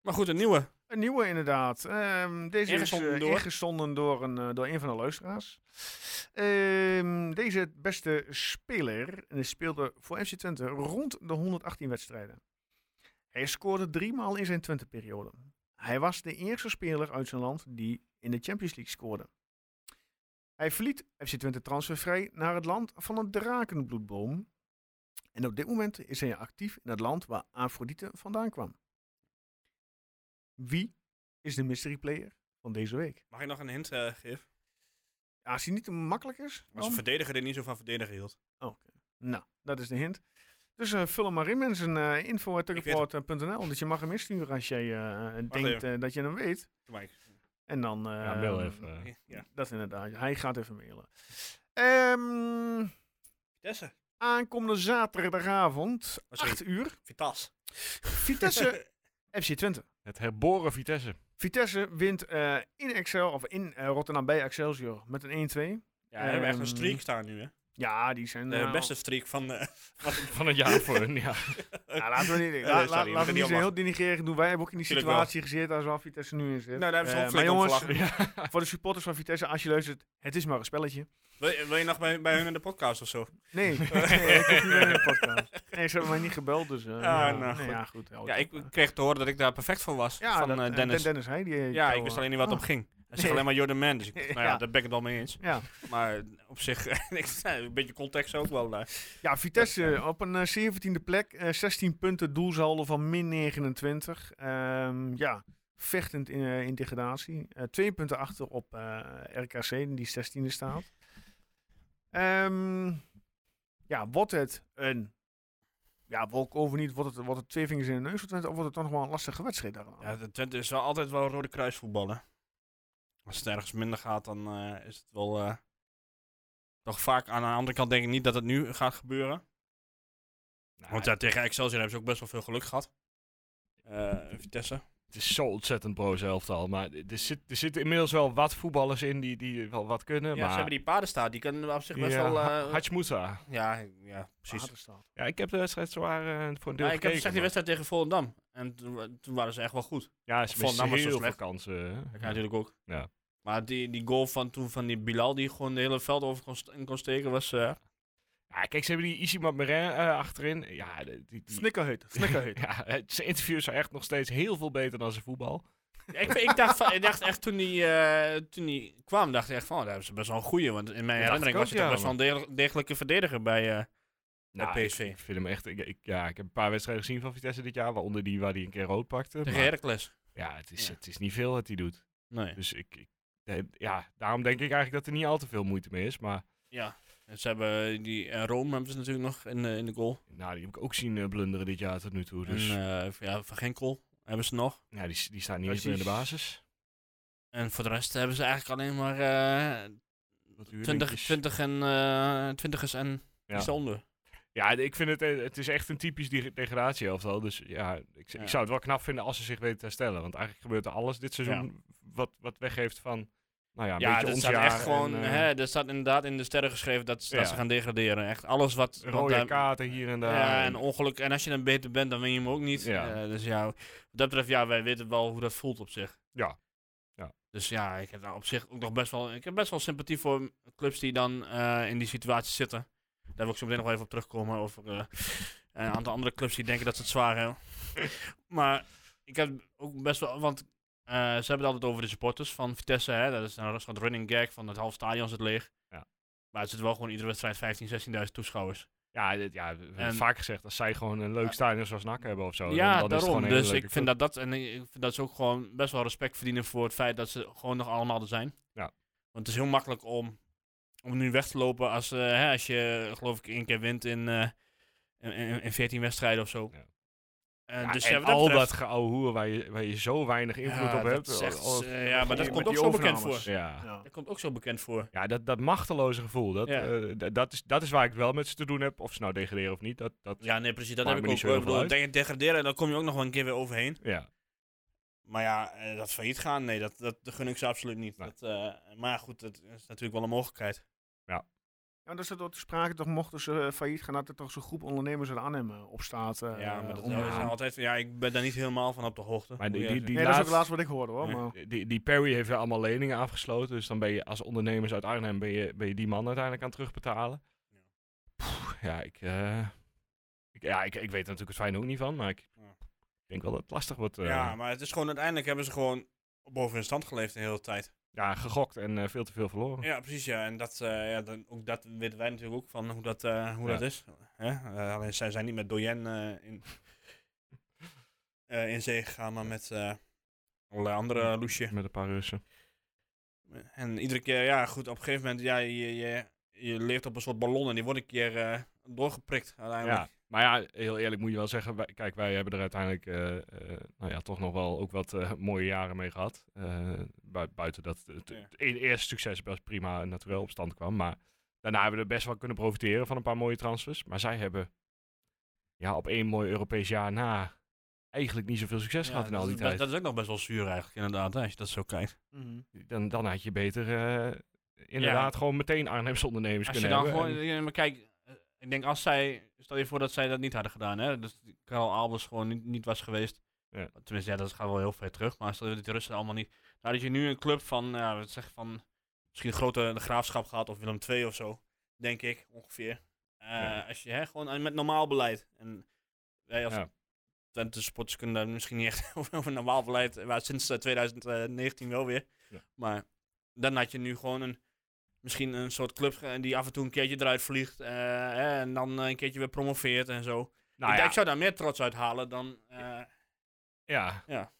Speaker 5: Maar goed, een nieuwe.
Speaker 1: Een nieuwe inderdaad. Ehm, deze
Speaker 5: Ingezonden
Speaker 1: is eh,
Speaker 5: door?
Speaker 1: ingezonden door een, eh, door een van de luisteraars. Ehm, deze beste speler eh, speelde voor FC Twente rond de 118 wedstrijden. Hij scoorde drie maal in zijn Twente-periode. Hij was de eerste speler uit zijn land die in de Champions League scoorde. Hij verliet FC Twente transfervrij naar het land van een drakenbloedboom. En op dit moment is hij actief in het land waar Afrodite vandaan kwam. Wie is de mystery player van deze week?
Speaker 5: Mag ik nog een hint eh, geven?
Speaker 1: Ja, als hij niet te makkelijk is,
Speaker 5: Als een
Speaker 1: dan-
Speaker 5: verdediger er niet zo van verdedigen hield.
Speaker 1: Oh, oké. Nou, dat is de hint. Dus eh, vul hem maar in, mensen. eh info.tukkenpoort.nl Want je mag hem insturen als jij eh, denkt
Speaker 5: even.
Speaker 1: eh, dat je hem weet.
Speaker 5: Doe maar.
Speaker 1: En dan... eh,
Speaker 5: Ehm,
Speaker 4: Ja, wel even. eh.
Speaker 5: Ja.
Speaker 1: Dat inderdaad. Hij gaat even mailen. Ehm,
Speaker 5: Vitesse.
Speaker 1: aankomende zaterdagavond,
Speaker 5: Oh, sorry.
Speaker 1: 8 uur.
Speaker 5: Vitas.
Speaker 1: Vitesse FC Twente.
Speaker 4: Het herboren Vitesse.
Speaker 1: Vitesse wint eh, in Excel, of in eh, Rotterdam bij Excelsior met een 1-2.
Speaker 5: Ja, we hebben echt een
Speaker 1: Ehm,
Speaker 5: streak staan nu, hè.
Speaker 1: Ja, die zijn...
Speaker 5: De
Speaker 1: nou,
Speaker 5: beste streak van... eh
Speaker 4: Van een jaar voor hun, ja.
Speaker 1: Ja, laten we niet,
Speaker 5: Eh,
Speaker 1: la- la-
Speaker 5: sorry,
Speaker 1: laten
Speaker 5: moet
Speaker 1: we
Speaker 5: er
Speaker 1: niet
Speaker 5: niet
Speaker 1: zo
Speaker 5: om
Speaker 1: heel denigrerend doen. Wij hebben ook in die
Speaker 5: Tuurlijk wel.
Speaker 1: situatie gezeten als waar Vitesse nu in zit.
Speaker 5: Nou, daar hebben ze
Speaker 1: Eh,
Speaker 5: ook
Speaker 1: maar
Speaker 5: flink om
Speaker 1: jongens,
Speaker 5: gelachen.
Speaker 1: voor de supporters van Vitesse, als je luistert, het is maar een spelletje.
Speaker 5: wil, je- wil je nog bij, bij hun in de podcast of zo?
Speaker 1: Nee, nee ik heb niet meer in de podcast. Nee, ze hebben mij niet gebeld, dus... eh, ja,
Speaker 5: nou,
Speaker 1: nee,
Speaker 5: goed.
Speaker 1: ja, goed. hou
Speaker 5: Ja,
Speaker 1: het
Speaker 5: ik
Speaker 1: op, eh.
Speaker 5: kreeg te horen dat ik daar perfect voor was.
Speaker 1: Ja,
Speaker 5: van
Speaker 1: dat,
Speaker 5: eh,
Speaker 1: eh,
Speaker 5: Dennis.
Speaker 1: Den- Dennis, hij die... eh,
Speaker 5: Ja,
Speaker 1: jou,
Speaker 5: ik wist
Speaker 1: eh,
Speaker 5: alleen niet wat
Speaker 1: ah,
Speaker 5: op ging. Hij zegt
Speaker 1: Nee.
Speaker 5: alleen maar You're the man. Dus ik, nou ja,
Speaker 1: Ja.
Speaker 5: daar ben ik het wel mee eens.
Speaker 1: Ja.
Speaker 5: Maar op zich, ik- nou, een beetje context ook wel. daar.
Speaker 1: ja, Vitesse op een eh, 17e plek. eh, 16 punten, doelsaldo van min 29. Ehm, ja, vechtend in, eh, in degradatie. Eh, twee punten achter op eh, RKC, die 16e staat. Ehm, ja, wordt het een... Ja, walkover niet. Wordt het, wordt het twee vingers in de neus van Twente, Of wordt het toch nog wel een lastige wedstrijd daaraan?
Speaker 5: Ja, de Twente is wel altijd wel rode kruis voetballen. Als het ergens minder gaat, dan eh, is het wel... eh, toch vaak aan de andere kant denk ik niet dat het nu gaat gebeuren.
Speaker 4: Nou,
Speaker 5: Want ja, tegen Excelsior hebben ze ook best wel veel geluk gehad. Eh, Vitesse.
Speaker 4: Het is zo ontzettend broos elftal. Maar er, zit, er zitten inmiddels wel wat voetballers in die, die wel wat kunnen.
Speaker 5: Ja, ze
Speaker 4: maar
Speaker 5: hebben die paardenstaart, die kunnen op zich best
Speaker 4: Ja,
Speaker 5: wel... eh,
Speaker 4: Ha- Hachmouta.
Speaker 5: ja, ja, precies.
Speaker 1: Waterstaat.
Speaker 4: Ja, ik heb de wedstrijd zwaar eh, voor een deel
Speaker 5: Ja, ik
Speaker 4: gekeken,
Speaker 5: heb gezegd die
Speaker 4: maar-
Speaker 5: wedstrijd tegen Volendam. En toen, toen waren ze echt wel goed.
Speaker 4: Ja, ze
Speaker 5: Volendam
Speaker 4: missen
Speaker 5: was zo
Speaker 4: heel veel
Speaker 5: slecht.
Speaker 4: kansen. hè.
Speaker 5: Ja, natuurlijk ook.
Speaker 4: Ja.
Speaker 5: Maar die, die goal van toen van die Bilal, die gewoon de hele veld over kon, st- in kon steken, was... eh,
Speaker 4: Ja, kijk, ze hebben die Isimat Marin eh, achterin. Ja, de- die, die,
Speaker 1: Snikkerhut, snikkerhut.
Speaker 4: ja, eh, zijn interviews zijn echt nog steeds heel veel beter dan zijn voetbal.
Speaker 5: ik, ik, dacht van, ik dacht echt toen die, eh, toen die kwam, dacht ik echt van, oh, daar hebben ze best wel een goeie. Want in mijn
Speaker 4: dacht
Speaker 5: herinnering
Speaker 4: ik
Speaker 5: was
Speaker 4: ook,
Speaker 5: hij toch
Speaker 4: ja,
Speaker 5: best wel een degel- degelijke verdediger bij... eh, Bij
Speaker 4: ik-
Speaker 5: PSV.
Speaker 4: Ik, vind hem echt... Ik, ik- ja, ik heb een paar wedstrijden gezien van Vitesse dit jaar, waaronder die waar hij een keer rood pakte.
Speaker 5: tegen
Speaker 4: maar
Speaker 5: Heracles.
Speaker 4: ja, het is,
Speaker 5: Ja.
Speaker 4: het is niet veel wat hij doet.
Speaker 5: Nee.
Speaker 4: Dus ik... ik eh, ja, daarom denk ik eigenlijk dat er niet al te veel moeite mee is. Maar
Speaker 5: Ja. En ze hebben die... En Rome hebben ze natuurlijk nog in, de- in de goal.
Speaker 4: nou, die heb ik ook zien eh, blunderen dit jaar tot nu toe. Dus
Speaker 5: En eh, ja, Van Genkel hebben ze nog.
Speaker 4: ja, die, die staan niet
Speaker 1: dat
Speaker 4: eens meer in de
Speaker 1: is-
Speaker 4: basis.
Speaker 5: En voor de rest hebben ze eigenlijk alleen maar... eh
Speaker 4: Wat
Speaker 5: 20,
Speaker 4: huurlinkjes.
Speaker 5: 20 en... eh 20 en...
Speaker 4: dus- Ja.
Speaker 5: Ja. onder.
Speaker 4: Ja, ik vind het, eh, het is echt een typisch dig- degradatieelftal. Dus ja ik, z-
Speaker 5: Ja.
Speaker 4: ik zou het wel knap vinden als ze zich weten te herstellen. Want eigenlijk gebeurt er alles dit seizoen wat, wat weggeeft van, nou ja, een
Speaker 5: Ja,
Speaker 4: beetje
Speaker 5: dat
Speaker 4: ons
Speaker 5: staat
Speaker 4: jaar.
Speaker 5: echt gewoon.
Speaker 4: en, eh,
Speaker 5: hè, er staat inderdaad in de sterren geschreven dat, dat
Speaker 4: Ja.
Speaker 5: ze gaan degraderen. Echt alles wat. wat
Speaker 4: rode
Speaker 5: daar-
Speaker 4: kaarten hier en daar.
Speaker 5: eh, Ja, en ongeluk. En als je dan beter bent, dan win je hem ook niet.
Speaker 4: Ja.
Speaker 5: Eh, dus ja, wat dat betreft, ja, wij weten wel hoe dat voelt op zich.
Speaker 4: Ja. Ja.
Speaker 5: Dus ja, ik heb daar op zich ook nog best wel. Ik heb best wel sympathie voor clubs die dan eh, in die situatie zitten. Daar wil ik zo meteen nog wel even op terugkomen. Over eh, een aantal andere clubs die denken dat ze het zwaar hebben. maar ik heb ook best wel. Want eh, ze hebben het altijd over de supporters van Vitesse. Hè? Dat is een soort running gag van het half stadion zit leeg.
Speaker 4: Ja.
Speaker 5: Maar het zit wel gewoon iedere wedstrijd 15, 16.000 toeschouwers.
Speaker 4: ja, dit- ja, we hebben
Speaker 5: En-
Speaker 4: vaak gezegd, als zij gewoon een leuk
Speaker 5: Ja.
Speaker 4: stadion zoals NAC hebben of zo.
Speaker 5: ja,
Speaker 4: dan, dan Oh, is het
Speaker 5: daarom.
Speaker 4: gewoon een hele
Speaker 5: dus
Speaker 4: leuke
Speaker 5: ik vind
Speaker 4: club.
Speaker 5: dat dat en ik vind dat ze ook gewoon best wel respect verdienen voor het feit dat ze gewoon nog allemaal er zijn.
Speaker 4: Ja.
Speaker 5: Want het is heel makkelijk om, om nu weg te lopen als, eh, hè, als je geloof ik één keer wint in, eh, in, in, in 14 wedstrijden of zo.
Speaker 4: Ja.
Speaker 5: Eh,
Speaker 4: Ja,
Speaker 5: dus
Speaker 4: en
Speaker 5: ja, wat
Speaker 4: al
Speaker 5: betreft-
Speaker 4: dat geouwehoer waar je, waar je zo weinig invloed
Speaker 5: Ja,
Speaker 4: op
Speaker 5: dat
Speaker 4: hebt.
Speaker 5: is echt,
Speaker 4: al- al-
Speaker 5: eh, ja, maar dat
Speaker 1: Met
Speaker 5: komt ook
Speaker 1: die
Speaker 5: zo bekend voor.
Speaker 1: overnames.
Speaker 4: ja.
Speaker 1: Ja.
Speaker 5: Dat komt ook zo bekend voor.
Speaker 4: Ja, dat, dat machteloze gevoel, dat,
Speaker 5: Ja.
Speaker 4: eh, d- dat, is, dat is waar ik het wel met ze te doen heb. Of ze nou degraderen of niet, dat, dat,
Speaker 5: Ja, nee, precies. Dat
Speaker 4: Maakt
Speaker 5: heb
Speaker 4: me
Speaker 5: ik
Speaker 4: niet
Speaker 5: ook.
Speaker 4: zo heel
Speaker 5: Ik bedoel,
Speaker 4: veel
Speaker 5: deg- degraderen, en dan kom je ook nog wel een keer weer overheen.
Speaker 4: ja.
Speaker 5: Maar ja, eh, dat failliet gaan, nee, dat, dat gun ik ze absoluut niet.
Speaker 4: Nee.
Speaker 5: Dat, eh, maar goed, dat is natuurlijk wel een mogelijkheid.
Speaker 1: Ja, dus dat te sprake toch mochten ze eh, failliet gaan, dat er toch zo'n groep ondernemers uit Arnhem eh, opstaat. eh,
Speaker 5: ja, maar dat
Speaker 1: om-
Speaker 5: dat is altijd, ja, ik ben daar niet helemaal van op de hoogte.
Speaker 4: Maar die,
Speaker 5: moet
Speaker 4: die,
Speaker 5: je
Speaker 4: die,
Speaker 1: Nee, dat is ook het
Speaker 4: laatst-
Speaker 1: laatste wat ik hoorde hoor.
Speaker 5: Ja.
Speaker 1: Maar,
Speaker 4: die, die Perry heeft weer allemaal leningen afgesloten. Dus dan ben je als ondernemers uit Arnhem ben je, ben je die man uiteindelijk aan het terugbetalen.
Speaker 5: Ja.
Speaker 4: Pff, ja, ik, eh, ik, ja ik, ik weet er natuurlijk het fijne ook niet van. Maar ik
Speaker 5: Ja.
Speaker 4: denk wel dat het lastig wordt. eh,
Speaker 5: zeggen. Ja, maar het is gewoon, uiteindelijk hebben ze gewoon boven hun stand geleefd de hele tijd.
Speaker 4: ja, gegokt en eh, veel te veel verloren.
Speaker 5: Ja, precies, ja. En dat, eh, ja, dan, ook dat weten wij natuurlijk ook van hoe dat, eh, hoe
Speaker 4: Ja.
Speaker 5: dat is. Hè? Eh, alleen zij zijn niet met Doyen eh, in, eh, in zee gegaan, maar met eh allerlei andere eh, loesje.
Speaker 4: Met een paar Russen.
Speaker 5: En iedere keer, ja, goed, op een gegeven moment, ja, je, je, je leeft op een soort ballon en die wordt een keer eh, doorgeprikt uiteindelijk.
Speaker 4: Ja, maar ja, heel eerlijk moet je wel zeggen. Wij, kijk, wij hebben er uiteindelijk eh, eh, nou ja, toch nog wel ook wat eh, mooie jaren mee gehad. Eh, bui- buiten dat het,
Speaker 5: Ja.
Speaker 4: het e- eerste succes best prima natuurlijk op stand kwam. Maar daarna hebben we er best wel kunnen profiteren van een paar mooie transfers. Maar zij hebben ja, op één mooi Europees jaar na eigenlijk niet zoveel succes
Speaker 5: Ja,
Speaker 4: gehad in
Speaker 5: dat
Speaker 4: al
Speaker 5: is
Speaker 4: die
Speaker 5: best-
Speaker 4: tijd.
Speaker 5: Dat is ook nog best wel zuur eigenlijk, inderdaad, hè, als je dat zo kijkt.
Speaker 4: Dan, dan had je beter eh, inderdaad gewoon meteen Arnhemse ondernemers
Speaker 5: Als je
Speaker 4: kunnen
Speaker 5: dan
Speaker 4: hebben.
Speaker 5: gewoon,
Speaker 4: En-
Speaker 5: ja, maar kijk, eh, ik denk als zij, stel je voor dat zij dat niet hadden gedaan, hè, dat Karel Albers gewoon niet, niet was geweest.
Speaker 4: Ja.
Speaker 5: Tenminste, ja, dat gaat wel heel ver terug, maar stel dat die Russen allemaal niet. Nou, dat je nu een club van, ja, wat zeg je, van misschien een grote de graafschap gehad of Willem II of zo, denk ik ongeveer. Eh,
Speaker 4: Ja.
Speaker 5: Als je hè, gewoon aan- met normaal beleid. En wij als
Speaker 4: Ja.
Speaker 5: Twente supporters kunnen daar misschien niet echt over- over normaal beleid, eh, maar sinds eh, 2019 wel weer.
Speaker 4: Ja.
Speaker 5: Maar dan had je nu gewoon een misschien een soort club ge- die af en toe een keertje eruit vliegt. eh, hè, en dan eh, een keertje weer promoveert en zo.
Speaker 4: nou
Speaker 5: ik,
Speaker 4: ja.
Speaker 5: ik zou daar meer trots uit halen dan. eh,
Speaker 4: Ja.
Speaker 5: Ja.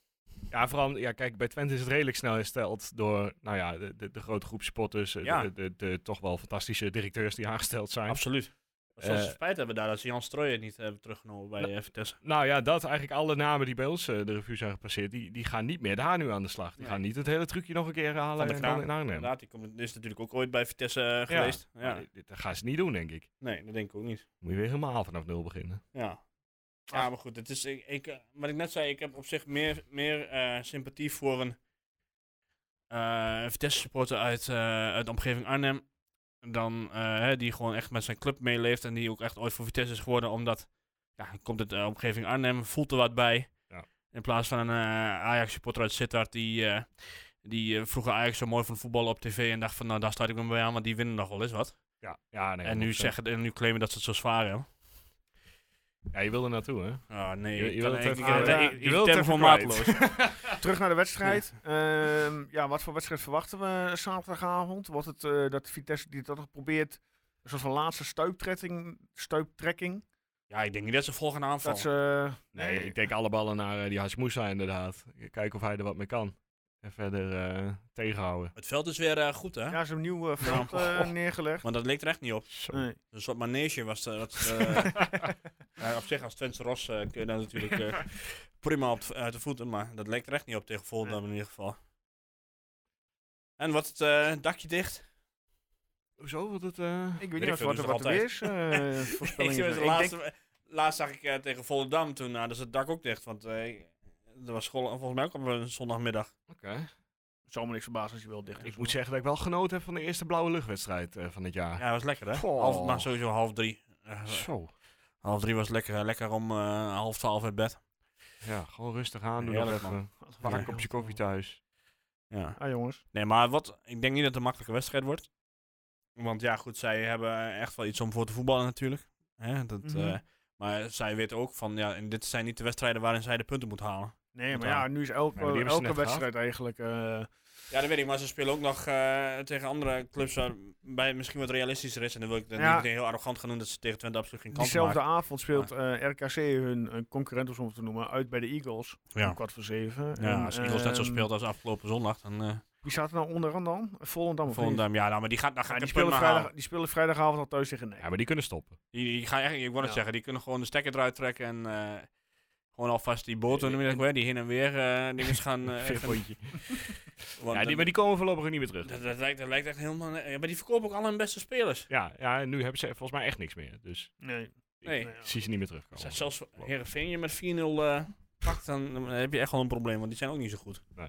Speaker 4: Ja, vooral, ja, kijk, bij Twente is het redelijk snel hersteld door, nou ja, de, de, de grote groep spotters, eh,
Speaker 5: Ja.
Speaker 4: de, de, de toch wel fantastische directeurs die aangesteld zijn.
Speaker 5: absoluut. Zoals
Speaker 4: Eh,
Speaker 5: spijt hebben daar dat ze Jan Strooijen niet hebben teruggenomen bij eh, Vitesse.
Speaker 4: nou ja, dat eigenlijk alle namen die bij ons eh, de revue zijn gepasseerd, die, die gaan niet meer daar nu aan de slag. Die
Speaker 5: Nee.
Speaker 4: gaan niet het hele trucje nog een keer halen
Speaker 5: Van de
Speaker 4: en dan
Speaker 5: Kraan,
Speaker 4: in Arnhem.
Speaker 5: Inderdaad, die komt, die is natuurlijk ook ooit bij Vitesse eh, geweest. Ja.
Speaker 4: Maar dit- Dat gaan ze niet doen, denk ik.
Speaker 5: Nee, dat denk ik ook niet.
Speaker 4: Moet je weer helemaal vanaf nul beginnen.
Speaker 5: Ja. Ja, maar goed, het is, ik, ik, eh, wat ik net zei, ik heb op zich meer, meer eh, sympathie voor een eh Vitesse supporter uit, eh, uit de omgeving Arnhem. Dan eh, hè, die gewoon echt met zijn club meeleeft en die ook echt ooit voor Vitesse is geworden, omdat ja, hij komt uit de omgeving Arnhem, voelt er wat bij.
Speaker 4: Ja.
Speaker 5: In plaats van een eh, Ajax supporter uit Sittard die, eh, die eh, vroeger Ajax zo mooi van voetbal op tv en dacht van nou daar sluit ik me bij aan, want die winnen nog wel eens wat.
Speaker 4: Ja, ja nee,
Speaker 5: en, nu
Speaker 4: 100%.
Speaker 5: zeggen, en nu claimen dat ze het zo zwaar hebben.
Speaker 4: Ja, je wil er naartoe, hè?
Speaker 5: Ah nee,
Speaker 4: Je- je
Speaker 5: ik
Speaker 4: wilt
Speaker 5: kan-
Speaker 4: het
Speaker 5: ik-
Speaker 4: even-
Speaker 5: ik-
Speaker 1: ja,
Speaker 5: ik-
Speaker 1: je
Speaker 5: ik
Speaker 4: wilt het
Speaker 5: tem
Speaker 4: even
Speaker 5: gewoon
Speaker 4: kwijt.
Speaker 5: maatloos.
Speaker 1: Terug naar de wedstrijd. Ehm, ja, wat voor wedstrijd verwachten we zaterdagavond? Wordt het eh, dat Vitesse die dat nog probeert, een soort van laatste stuiptrekking? stuiptrekking
Speaker 5: Ja, ik denk niet dat ze volgen aanval.
Speaker 4: eh,
Speaker 1: dat ze,
Speaker 4: Nee, ik denk alle ballen naar eh, die Hasmoesa inderdaad. Kijken of hij er wat mee kan. En verder eh, tegenhouden.
Speaker 5: Het veld is weer eh, goed, hè?
Speaker 1: ja, ze hebben een nieuw eh, veld
Speaker 5: Ja.
Speaker 1: eh, neergelegd.
Speaker 5: Maar dat leek er echt niet op.
Speaker 4: Oh. Zo. Eh,
Speaker 1: Nee.
Speaker 5: Een soort manege was eh, dat. eh, ja, op zich, als Twente Ros eh, kun je daar natuurlijk eh, prima op de, uit de voeten. Maar dat leek er echt niet op tegen Volendam in ieder geval. En wat het eh, dakje dicht.
Speaker 4: Hoezo? Wat het, eh,
Speaker 1: Ik weet
Speaker 5: Weet
Speaker 1: niet
Speaker 5: ik
Speaker 1: wat,
Speaker 5: veel,
Speaker 1: wat,
Speaker 5: doen
Speaker 1: er- wat
Speaker 5: ze
Speaker 1: er
Speaker 5: altijd.
Speaker 1: is. eh
Speaker 5: Ik,
Speaker 1: voorspellingen. zijn.
Speaker 5: weet het,
Speaker 1: Ik
Speaker 5: laatst,
Speaker 1: denk-
Speaker 5: laatst zag ik eh, tegen Volendam toen eh, hadden ze het dak ook dicht. Want eh, er was school, volgens mij ook op een zondagmiddag.
Speaker 4: oké.
Speaker 1: het zal me niks verbazen als je wil dicht.
Speaker 4: Ik moet zeggen dat ik wel genoten heb van de eerste blauwe luchtwedstrijd eh, van het jaar.
Speaker 5: Ja, dat was lekker, hè?
Speaker 4: Goh.
Speaker 5: Half, maar sowieso half drie. Eh,
Speaker 4: Zo.
Speaker 5: Half drie was lekker, lekker om eh, half twaalf uit bed.
Speaker 4: Ja, gewoon rustig aan. Doe
Speaker 5: Heerlijk,
Speaker 4: nog even.
Speaker 5: man.
Speaker 4: Pak
Speaker 5: Ja.
Speaker 4: een kopje koffie thuis.
Speaker 5: Ja.
Speaker 1: Ah jongens,
Speaker 5: Nee, maar wat, ik denk niet dat het een makkelijke wedstrijd wordt. Want ja, goed, zij hebben echt wel iets om voor te voetballen natuurlijk. Hè, dat,
Speaker 1: Mhm.
Speaker 5: eh, maar zij weten ook van, ja, en dit zijn niet de wedstrijden waarin zij de punten moet halen.
Speaker 1: nee, maar
Speaker 4: Ja.
Speaker 1: ja, nu is elke,
Speaker 4: eh, Nee, maar die hebben ze
Speaker 1: elke
Speaker 4: net
Speaker 1: wedstrijd eigenlijk... eh,
Speaker 5: Ja, dat weet ik, maar ze spelen ook nog eh, tegen andere clubs waarbij het misschien wat realistischer is. En dan wil ik dan
Speaker 1: Ja.
Speaker 5: niet heel arrogant gaan doen dat ze tegen Twente absoluut geen kans
Speaker 1: Diezelfde
Speaker 5: maken.
Speaker 1: avond speelt eh, RKC hun eh, concurrent, om zo te noemen, uit bij de Eagles.
Speaker 5: Ja.
Speaker 1: Om kwart voor zeven.
Speaker 5: Ja,
Speaker 1: En,
Speaker 5: als Eagles net zo
Speaker 1: ehm,
Speaker 5: speelt als afgelopen zondag, dan eh
Speaker 1: Wie staat er nou onderaan dan? Volendam of niet?
Speaker 5: Volendam, ja, nou, maar die gaat, dan
Speaker 1: Ja,
Speaker 5: gaat
Speaker 1: die,
Speaker 5: geen punt
Speaker 1: spelen
Speaker 5: meer
Speaker 1: vrijdag,
Speaker 5: halen.
Speaker 1: die spelen vrijdagavond al thuis tegen
Speaker 4: Ja,
Speaker 1: Nederland.
Speaker 4: maar die kunnen stoppen.
Speaker 5: Die, die gaan echt, ik wou het
Speaker 1: Ja.
Speaker 5: zeggen, die kunnen gewoon de stekker eruit trekken en eh, gewoon alvast die boten, noem je dat ook weer, die heen en weer eh dingen gaan... eh, gaan-
Speaker 4: Veerpotje.
Speaker 5: want
Speaker 4: Ja,
Speaker 5: dat-
Speaker 4: die, maar die komen voorlopig niet meer terug.
Speaker 5: Dat, dat lijkt, dat lijkt echt helemaal. ne- Ja, maar die verkopen ook al hun beste spelers.
Speaker 4: Ja, ja, en nu hebben ze volgens mij echt niks meer. Dus
Speaker 1: Nee.
Speaker 5: Nee.
Speaker 1: Nee, ja.
Speaker 4: ik zie ze niet meer
Speaker 5: Als
Speaker 4: terugkomen.
Speaker 5: dat zelfs Herenveen je met 4-0 eh, pakt, dan, dan heb je echt wel een probleem, want die zijn ook niet zo goed.
Speaker 4: Nee.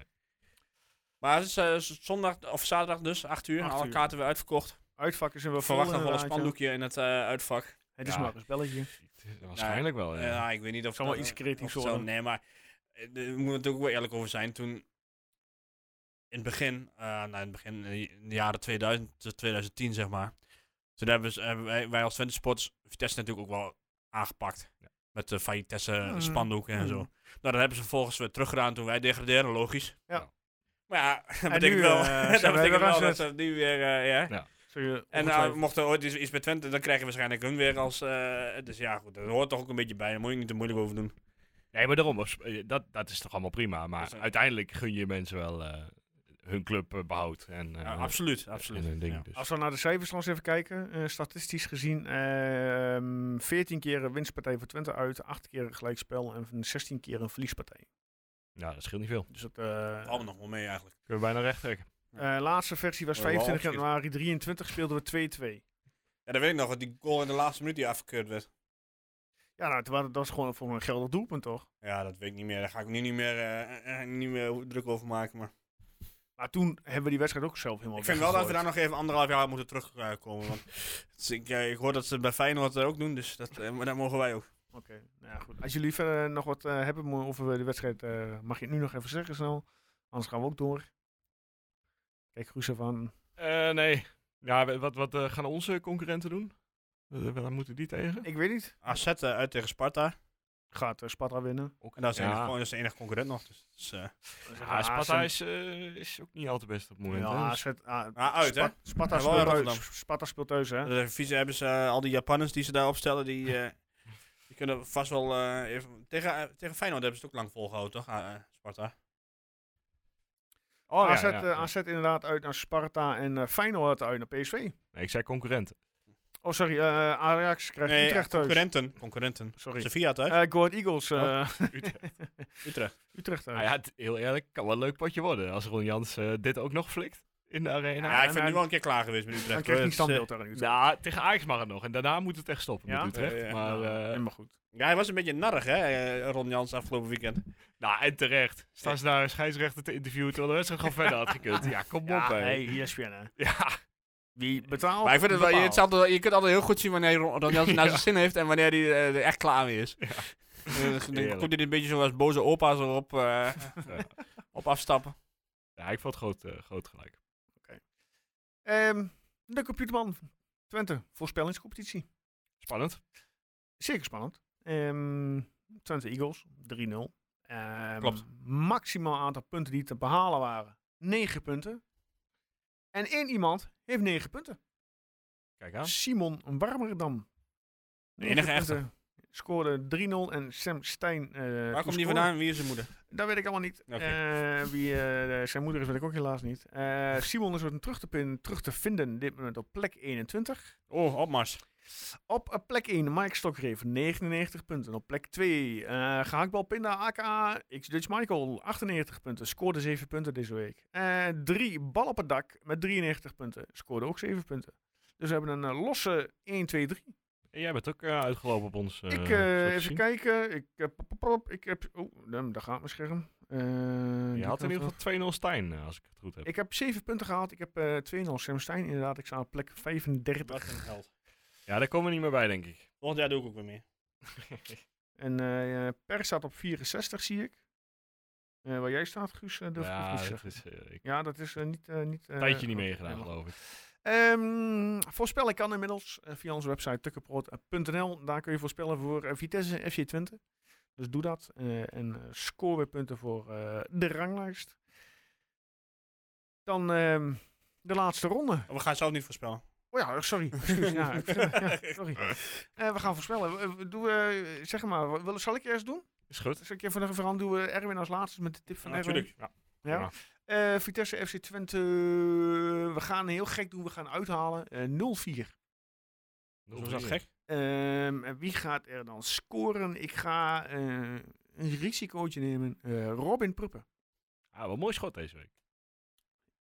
Speaker 5: Maar het is eh, z- zondag of zaterdag dus, 8 uur.
Speaker 1: Acht
Speaker 5: alle
Speaker 1: uur.
Speaker 5: kaarten weer uitverkocht.
Speaker 1: Uitvak is er wel
Speaker 5: We
Speaker 1: vol
Speaker 5: verwachten nog wel een
Speaker 1: inderdaad, ja.
Speaker 5: spandoekje in het eh, uitvak.
Speaker 1: Het is
Speaker 4: Ja.
Speaker 1: maar een spelletje.
Speaker 4: Waarschijnlijk wel,
Speaker 5: Ja.
Speaker 4: ja.
Speaker 5: ik weet niet of
Speaker 1: Zal wel
Speaker 5: dat-
Speaker 1: iets creatiefs
Speaker 5: of zo-
Speaker 1: worden.
Speaker 5: Nee, maar eh, de- we moeten er ook wel eerlijk over zijn. Toen in het begin, eh, nou in het begin, eh, in de jaren 2000 tot 2010 zeg maar. Toen hebben, ze, hebben wij, wij als Twente Sports Vitesse natuurlijk ook wel aangepakt. Met de Vitesse eh,
Speaker 4: Hmm.
Speaker 1: Mm.
Speaker 5: spandoeken en
Speaker 1: Mm.
Speaker 5: zo. Nou, dat hebben ze vervolgens weer teruggedaan toen wij degraderen, logisch.
Speaker 1: Ja.
Speaker 5: Maar ja, dat
Speaker 1: En
Speaker 5: betekent
Speaker 1: nu,
Speaker 5: wel,
Speaker 1: eh, zijn
Speaker 5: dat,
Speaker 1: wij
Speaker 5: betekent
Speaker 1: weer aan
Speaker 5: wel dat
Speaker 1: zet.
Speaker 5: ze nu weer, eh, ja,
Speaker 1: Zul je
Speaker 5: en nou,
Speaker 1: ongetwijfeld-
Speaker 5: mocht er ooit iets, iets bij Twente, dan krijgen we waarschijnlijk hun weer als... eh, dus ja, goed, dat hoort toch ook een beetje bij. Daar moet je niet te moeilijk over doen.
Speaker 4: Nee, maar daarom, als- eh, dat, dat is toch allemaal prima. Maar
Speaker 5: Dus, eh,
Speaker 4: uiteindelijk gun je mensen wel eh, hun club eh, behoud. En, eh,
Speaker 5: Ja, absoluut, absoluut.
Speaker 4: En hun ding,
Speaker 5: Ja.
Speaker 4: dus.
Speaker 1: Als we naar de cijfers trouwens even kijken. eh, statistisch gezien ehm 14 keer een winstpartij voor Twente uit, 8 keer een gelijkspel en 16 keer een verliespartij.
Speaker 4: Ja, dat scheelt niet veel.
Speaker 1: Dus dat, eh,
Speaker 5: Allemaal nog wel mee eigenlijk.
Speaker 4: Kunnen we bijna recht trekken.
Speaker 1: eh, laatste versie was
Speaker 5: Oh, wel
Speaker 1: 25
Speaker 5: opschieten.
Speaker 1: januari 23, speelden we 2-2.
Speaker 5: Ja, dat weet ik nog, want die goal in de laatste minuut die afgekeurd werd.
Speaker 1: Ja, nou, toen wa- dat was gewoon voor een geldig doelpunt toch?
Speaker 5: Ja, dat weet ik niet meer. Daar ga ik nu niet meer, eh, eh, niet meer druk over maken. Maar
Speaker 1: Maar toen hebben we die wedstrijd ook zelf helemaal
Speaker 5: ik vind wel dat we daar
Speaker 1: weggegooid.
Speaker 5: nog even anderhalf jaar moeten terugkomen. Want dus ik, eh, ik hoor dat ze het bij Feyenoord eh, ook doen, dus dat, eh, maar dat mogen wij ook.
Speaker 1: Oké, nou ja, goed. Als jullie verder nog wat eh, hebben mo- over de wedstrijd, eh, mag je het nu nog even zeggen snel. Anders gaan we ook door. Kijk, Groes even aan.
Speaker 4: Eh, nee. Ja, we- wat, wat eh, gaan onze concurrenten doen? Eh, Waar moeten die tegen?
Speaker 1: Ik weet niet.
Speaker 5: AZ eh, uit tegen Sparta.
Speaker 1: Gaat eh, Sparta winnen?
Speaker 5: En dat is, de
Speaker 4: Ja.
Speaker 5: enige, dat is de enige concurrent nog. Dus, dat is, eh,
Speaker 4: Ja, Ah, Sparta is, eh, is ook niet al te best op het moment.
Speaker 1: Ja,
Speaker 4: hè.
Speaker 1: AZ, ah,
Speaker 5: ah, uit, hè?
Speaker 1: Spa- Sparta,
Speaker 5: Ja, wel in
Speaker 1: speelt
Speaker 5: Rotterdam.
Speaker 1: thuis. Sparta speelt thuis, hè?
Speaker 5: De vieze hebben ze eh, al die Japanners die ze daar opstellen, die, eh, die kunnen vast wel eh, even... Tegen, eh, tegen Feyenoord hebben ze het ook lang volgehouden, toch? Ah, eh, Sparta.
Speaker 4: Oh, ja,
Speaker 1: AZ,
Speaker 4: ja,
Speaker 1: eh,
Speaker 4: ja.
Speaker 1: AZ inderdaad uit naar Sparta en eh, Feyenoord uit naar PSV.
Speaker 4: Nee, ik zei concurrenten.
Speaker 1: Oh, sorry. eh, Ajax krijgt Utrecht thuis.
Speaker 5: concurrenten. Concurrenten.
Speaker 1: Sorry.
Speaker 5: Sevilla thuis, Oh.
Speaker 1: Eh Go Ahead Eagles. eh,
Speaker 5: Utrecht.
Speaker 1: Utrecht thuis.
Speaker 4: Nou
Speaker 5: Ah,
Speaker 4: ja, het- heel eerlijk, kan wel een leuk potje worden. Als Ron Jans eh, dit ook nog flikt. in de arena.
Speaker 5: Ja, ik
Speaker 1: en
Speaker 5: vind nu
Speaker 1: hij-
Speaker 5: wel een keer klaar geweest met Utrecht.
Speaker 1: Dan krijg je
Speaker 5: hoor.
Speaker 1: niet
Speaker 5: Dat is, eh,
Speaker 1: standbeeld daar in Utrecht.
Speaker 4: Nou, tegen Ajax mag het nog. En daarna moet het echt stoppen
Speaker 1: Ja?
Speaker 4: met Utrecht.
Speaker 5: Ja, ja.
Speaker 4: Maar, eh,
Speaker 1: Nou, Helemaal goed.
Speaker 5: ja, hij was een beetje narrig, hè, eh, Ron Jans afgelopen weikend.
Speaker 4: nou, en terecht. Staan ze daar een scheidsrechter te interviewen terwijl de wedstrijd gewoon verder had gekund. Ja, kom op, hè.
Speaker 5: E
Speaker 1: hey, ESPN hè.
Speaker 4: Ja,
Speaker 1: Wie betaalt?
Speaker 5: Maar ik vind het wel, je, het
Speaker 1: bepaalt.
Speaker 5: is altijd wel- je kunt altijd heel goed zien wanneer Ron, Ron Jansen naar zijn zin heeft en wanneer hij eh, er echt klaar mee is. Eh, dan
Speaker 4: Heerlijk.
Speaker 5: komt hij een beetje zoals boze opa's erop eh,
Speaker 4: Ja.
Speaker 5: op afstappen.
Speaker 4: ja ik vond het groot, eh, groot gelijk.
Speaker 1: Ehm, de computerman Twente, voorspellingscompetitie.
Speaker 4: Spannend.
Speaker 1: Zeker spannend. Ehm, Twente Eagles, 3-0. Ehm,
Speaker 5: Klopt.
Speaker 1: Maximaal aantal punten die te behalen waren, 9 punten. En één iemand heeft 9 punten.
Speaker 4: Kijk aan.
Speaker 1: Simon Warmerdam.
Speaker 5: Oh. De enige echte.
Speaker 1: punten. Scoorde 3-0 en Sam Stein. eh,
Speaker 5: Waar komt
Speaker 1: scoorde.
Speaker 5: hij vandaan? Wie is zijn moeder?
Speaker 1: Dat weet ik allemaal niet.
Speaker 5: Oké.
Speaker 1: Eh, wie eh, zijn moeder is, weet ik ook helaas niet. Eh, Simon is weer terug te, pin- terug te vinden dit moment op plek 21.
Speaker 5: Oh, opmars.
Speaker 1: Op eh, plek 1 Mike Stokker heeft 99 punten. Op plek 2 eh gehaktbal Pinda aka X Dutch Michael 98 punten. Scoorde 7 punten deze week. 3 bal op het dak met 93 punten. Scoorde ook 7 punten. Dus we hebben een eh, losse 1, 2, 3.
Speaker 4: En jij bent ook eh, uitgelopen op ons. eh,
Speaker 1: Ik,
Speaker 4: zo te
Speaker 1: eh even
Speaker 4: zien.
Speaker 1: kijken. Ik, eh, pop, pop, pop. ik heb. Oh, daar daar gaat mijn scherm. Eh, die
Speaker 4: Je had in
Speaker 1: kant
Speaker 4: ieder
Speaker 1: op.
Speaker 4: geval 2-0 Stijn, eh, als ik het goed heb.
Speaker 1: Ik heb 7 punten gehaald. Ik heb eh 2-0 Sam Stein. Inderdaad, ik sta op plek 35.
Speaker 5: Wat een held.
Speaker 4: Ja, daar komen we niet meer bij, denk ik.
Speaker 5: Volgend jaar doe ik ook weer mee.
Speaker 1: En eh eh, Per staat op 64, zie ik. Eh, waar jij staat, Guus, eh, durf ik ook
Speaker 4: ja,
Speaker 1: niet te
Speaker 4: dat
Speaker 1: zeggen.
Speaker 4: is, eh, ik
Speaker 1: Ja, dat is eh, niet... eh niet eh,
Speaker 4: een tijdje niet
Speaker 1: eh,
Speaker 4: meegedaan,
Speaker 1: helemaal.
Speaker 4: geloof ik.
Speaker 1: Ehm, voorspellen kan inmiddels eh, via onze website tukkenproot.nl. Daar kun je voorspellen voor eh, Vitesse en FC Twente. Dus doe dat. eh, en eh, score weer punten voor eh, de ranglijst. Dan ehm, de laatste ronde.
Speaker 5: We gaan zelf niet voorspellen.
Speaker 1: Oh ja, sorry. Excuus, ja, ik- ja, sorry. Eh, we gaan voorspellen. Eh, we- Doe, eh, zeg maar, wa- wil, zal ik eerst doen?
Speaker 4: Is goed.
Speaker 1: Zal ik even nog even aan doen? eh, Erwin als laatste met de tip van Erwin.
Speaker 5: Natuurlijk.
Speaker 1: Ja.
Speaker 4: Ja.
Speaker 1: Eh, Vitesse FC Twente. We gaan heel gek doen. We gaan uithalen. eh, 0-4.
Speaker 5: Dus was dat gek?
Speaker 1: Ehm, en wie gaat er dan scoren? Ik ga eh, een risicootje nemen. Eh, Robin Pruppen.
Speaker 4: Ah, wat een mooi schot deze week.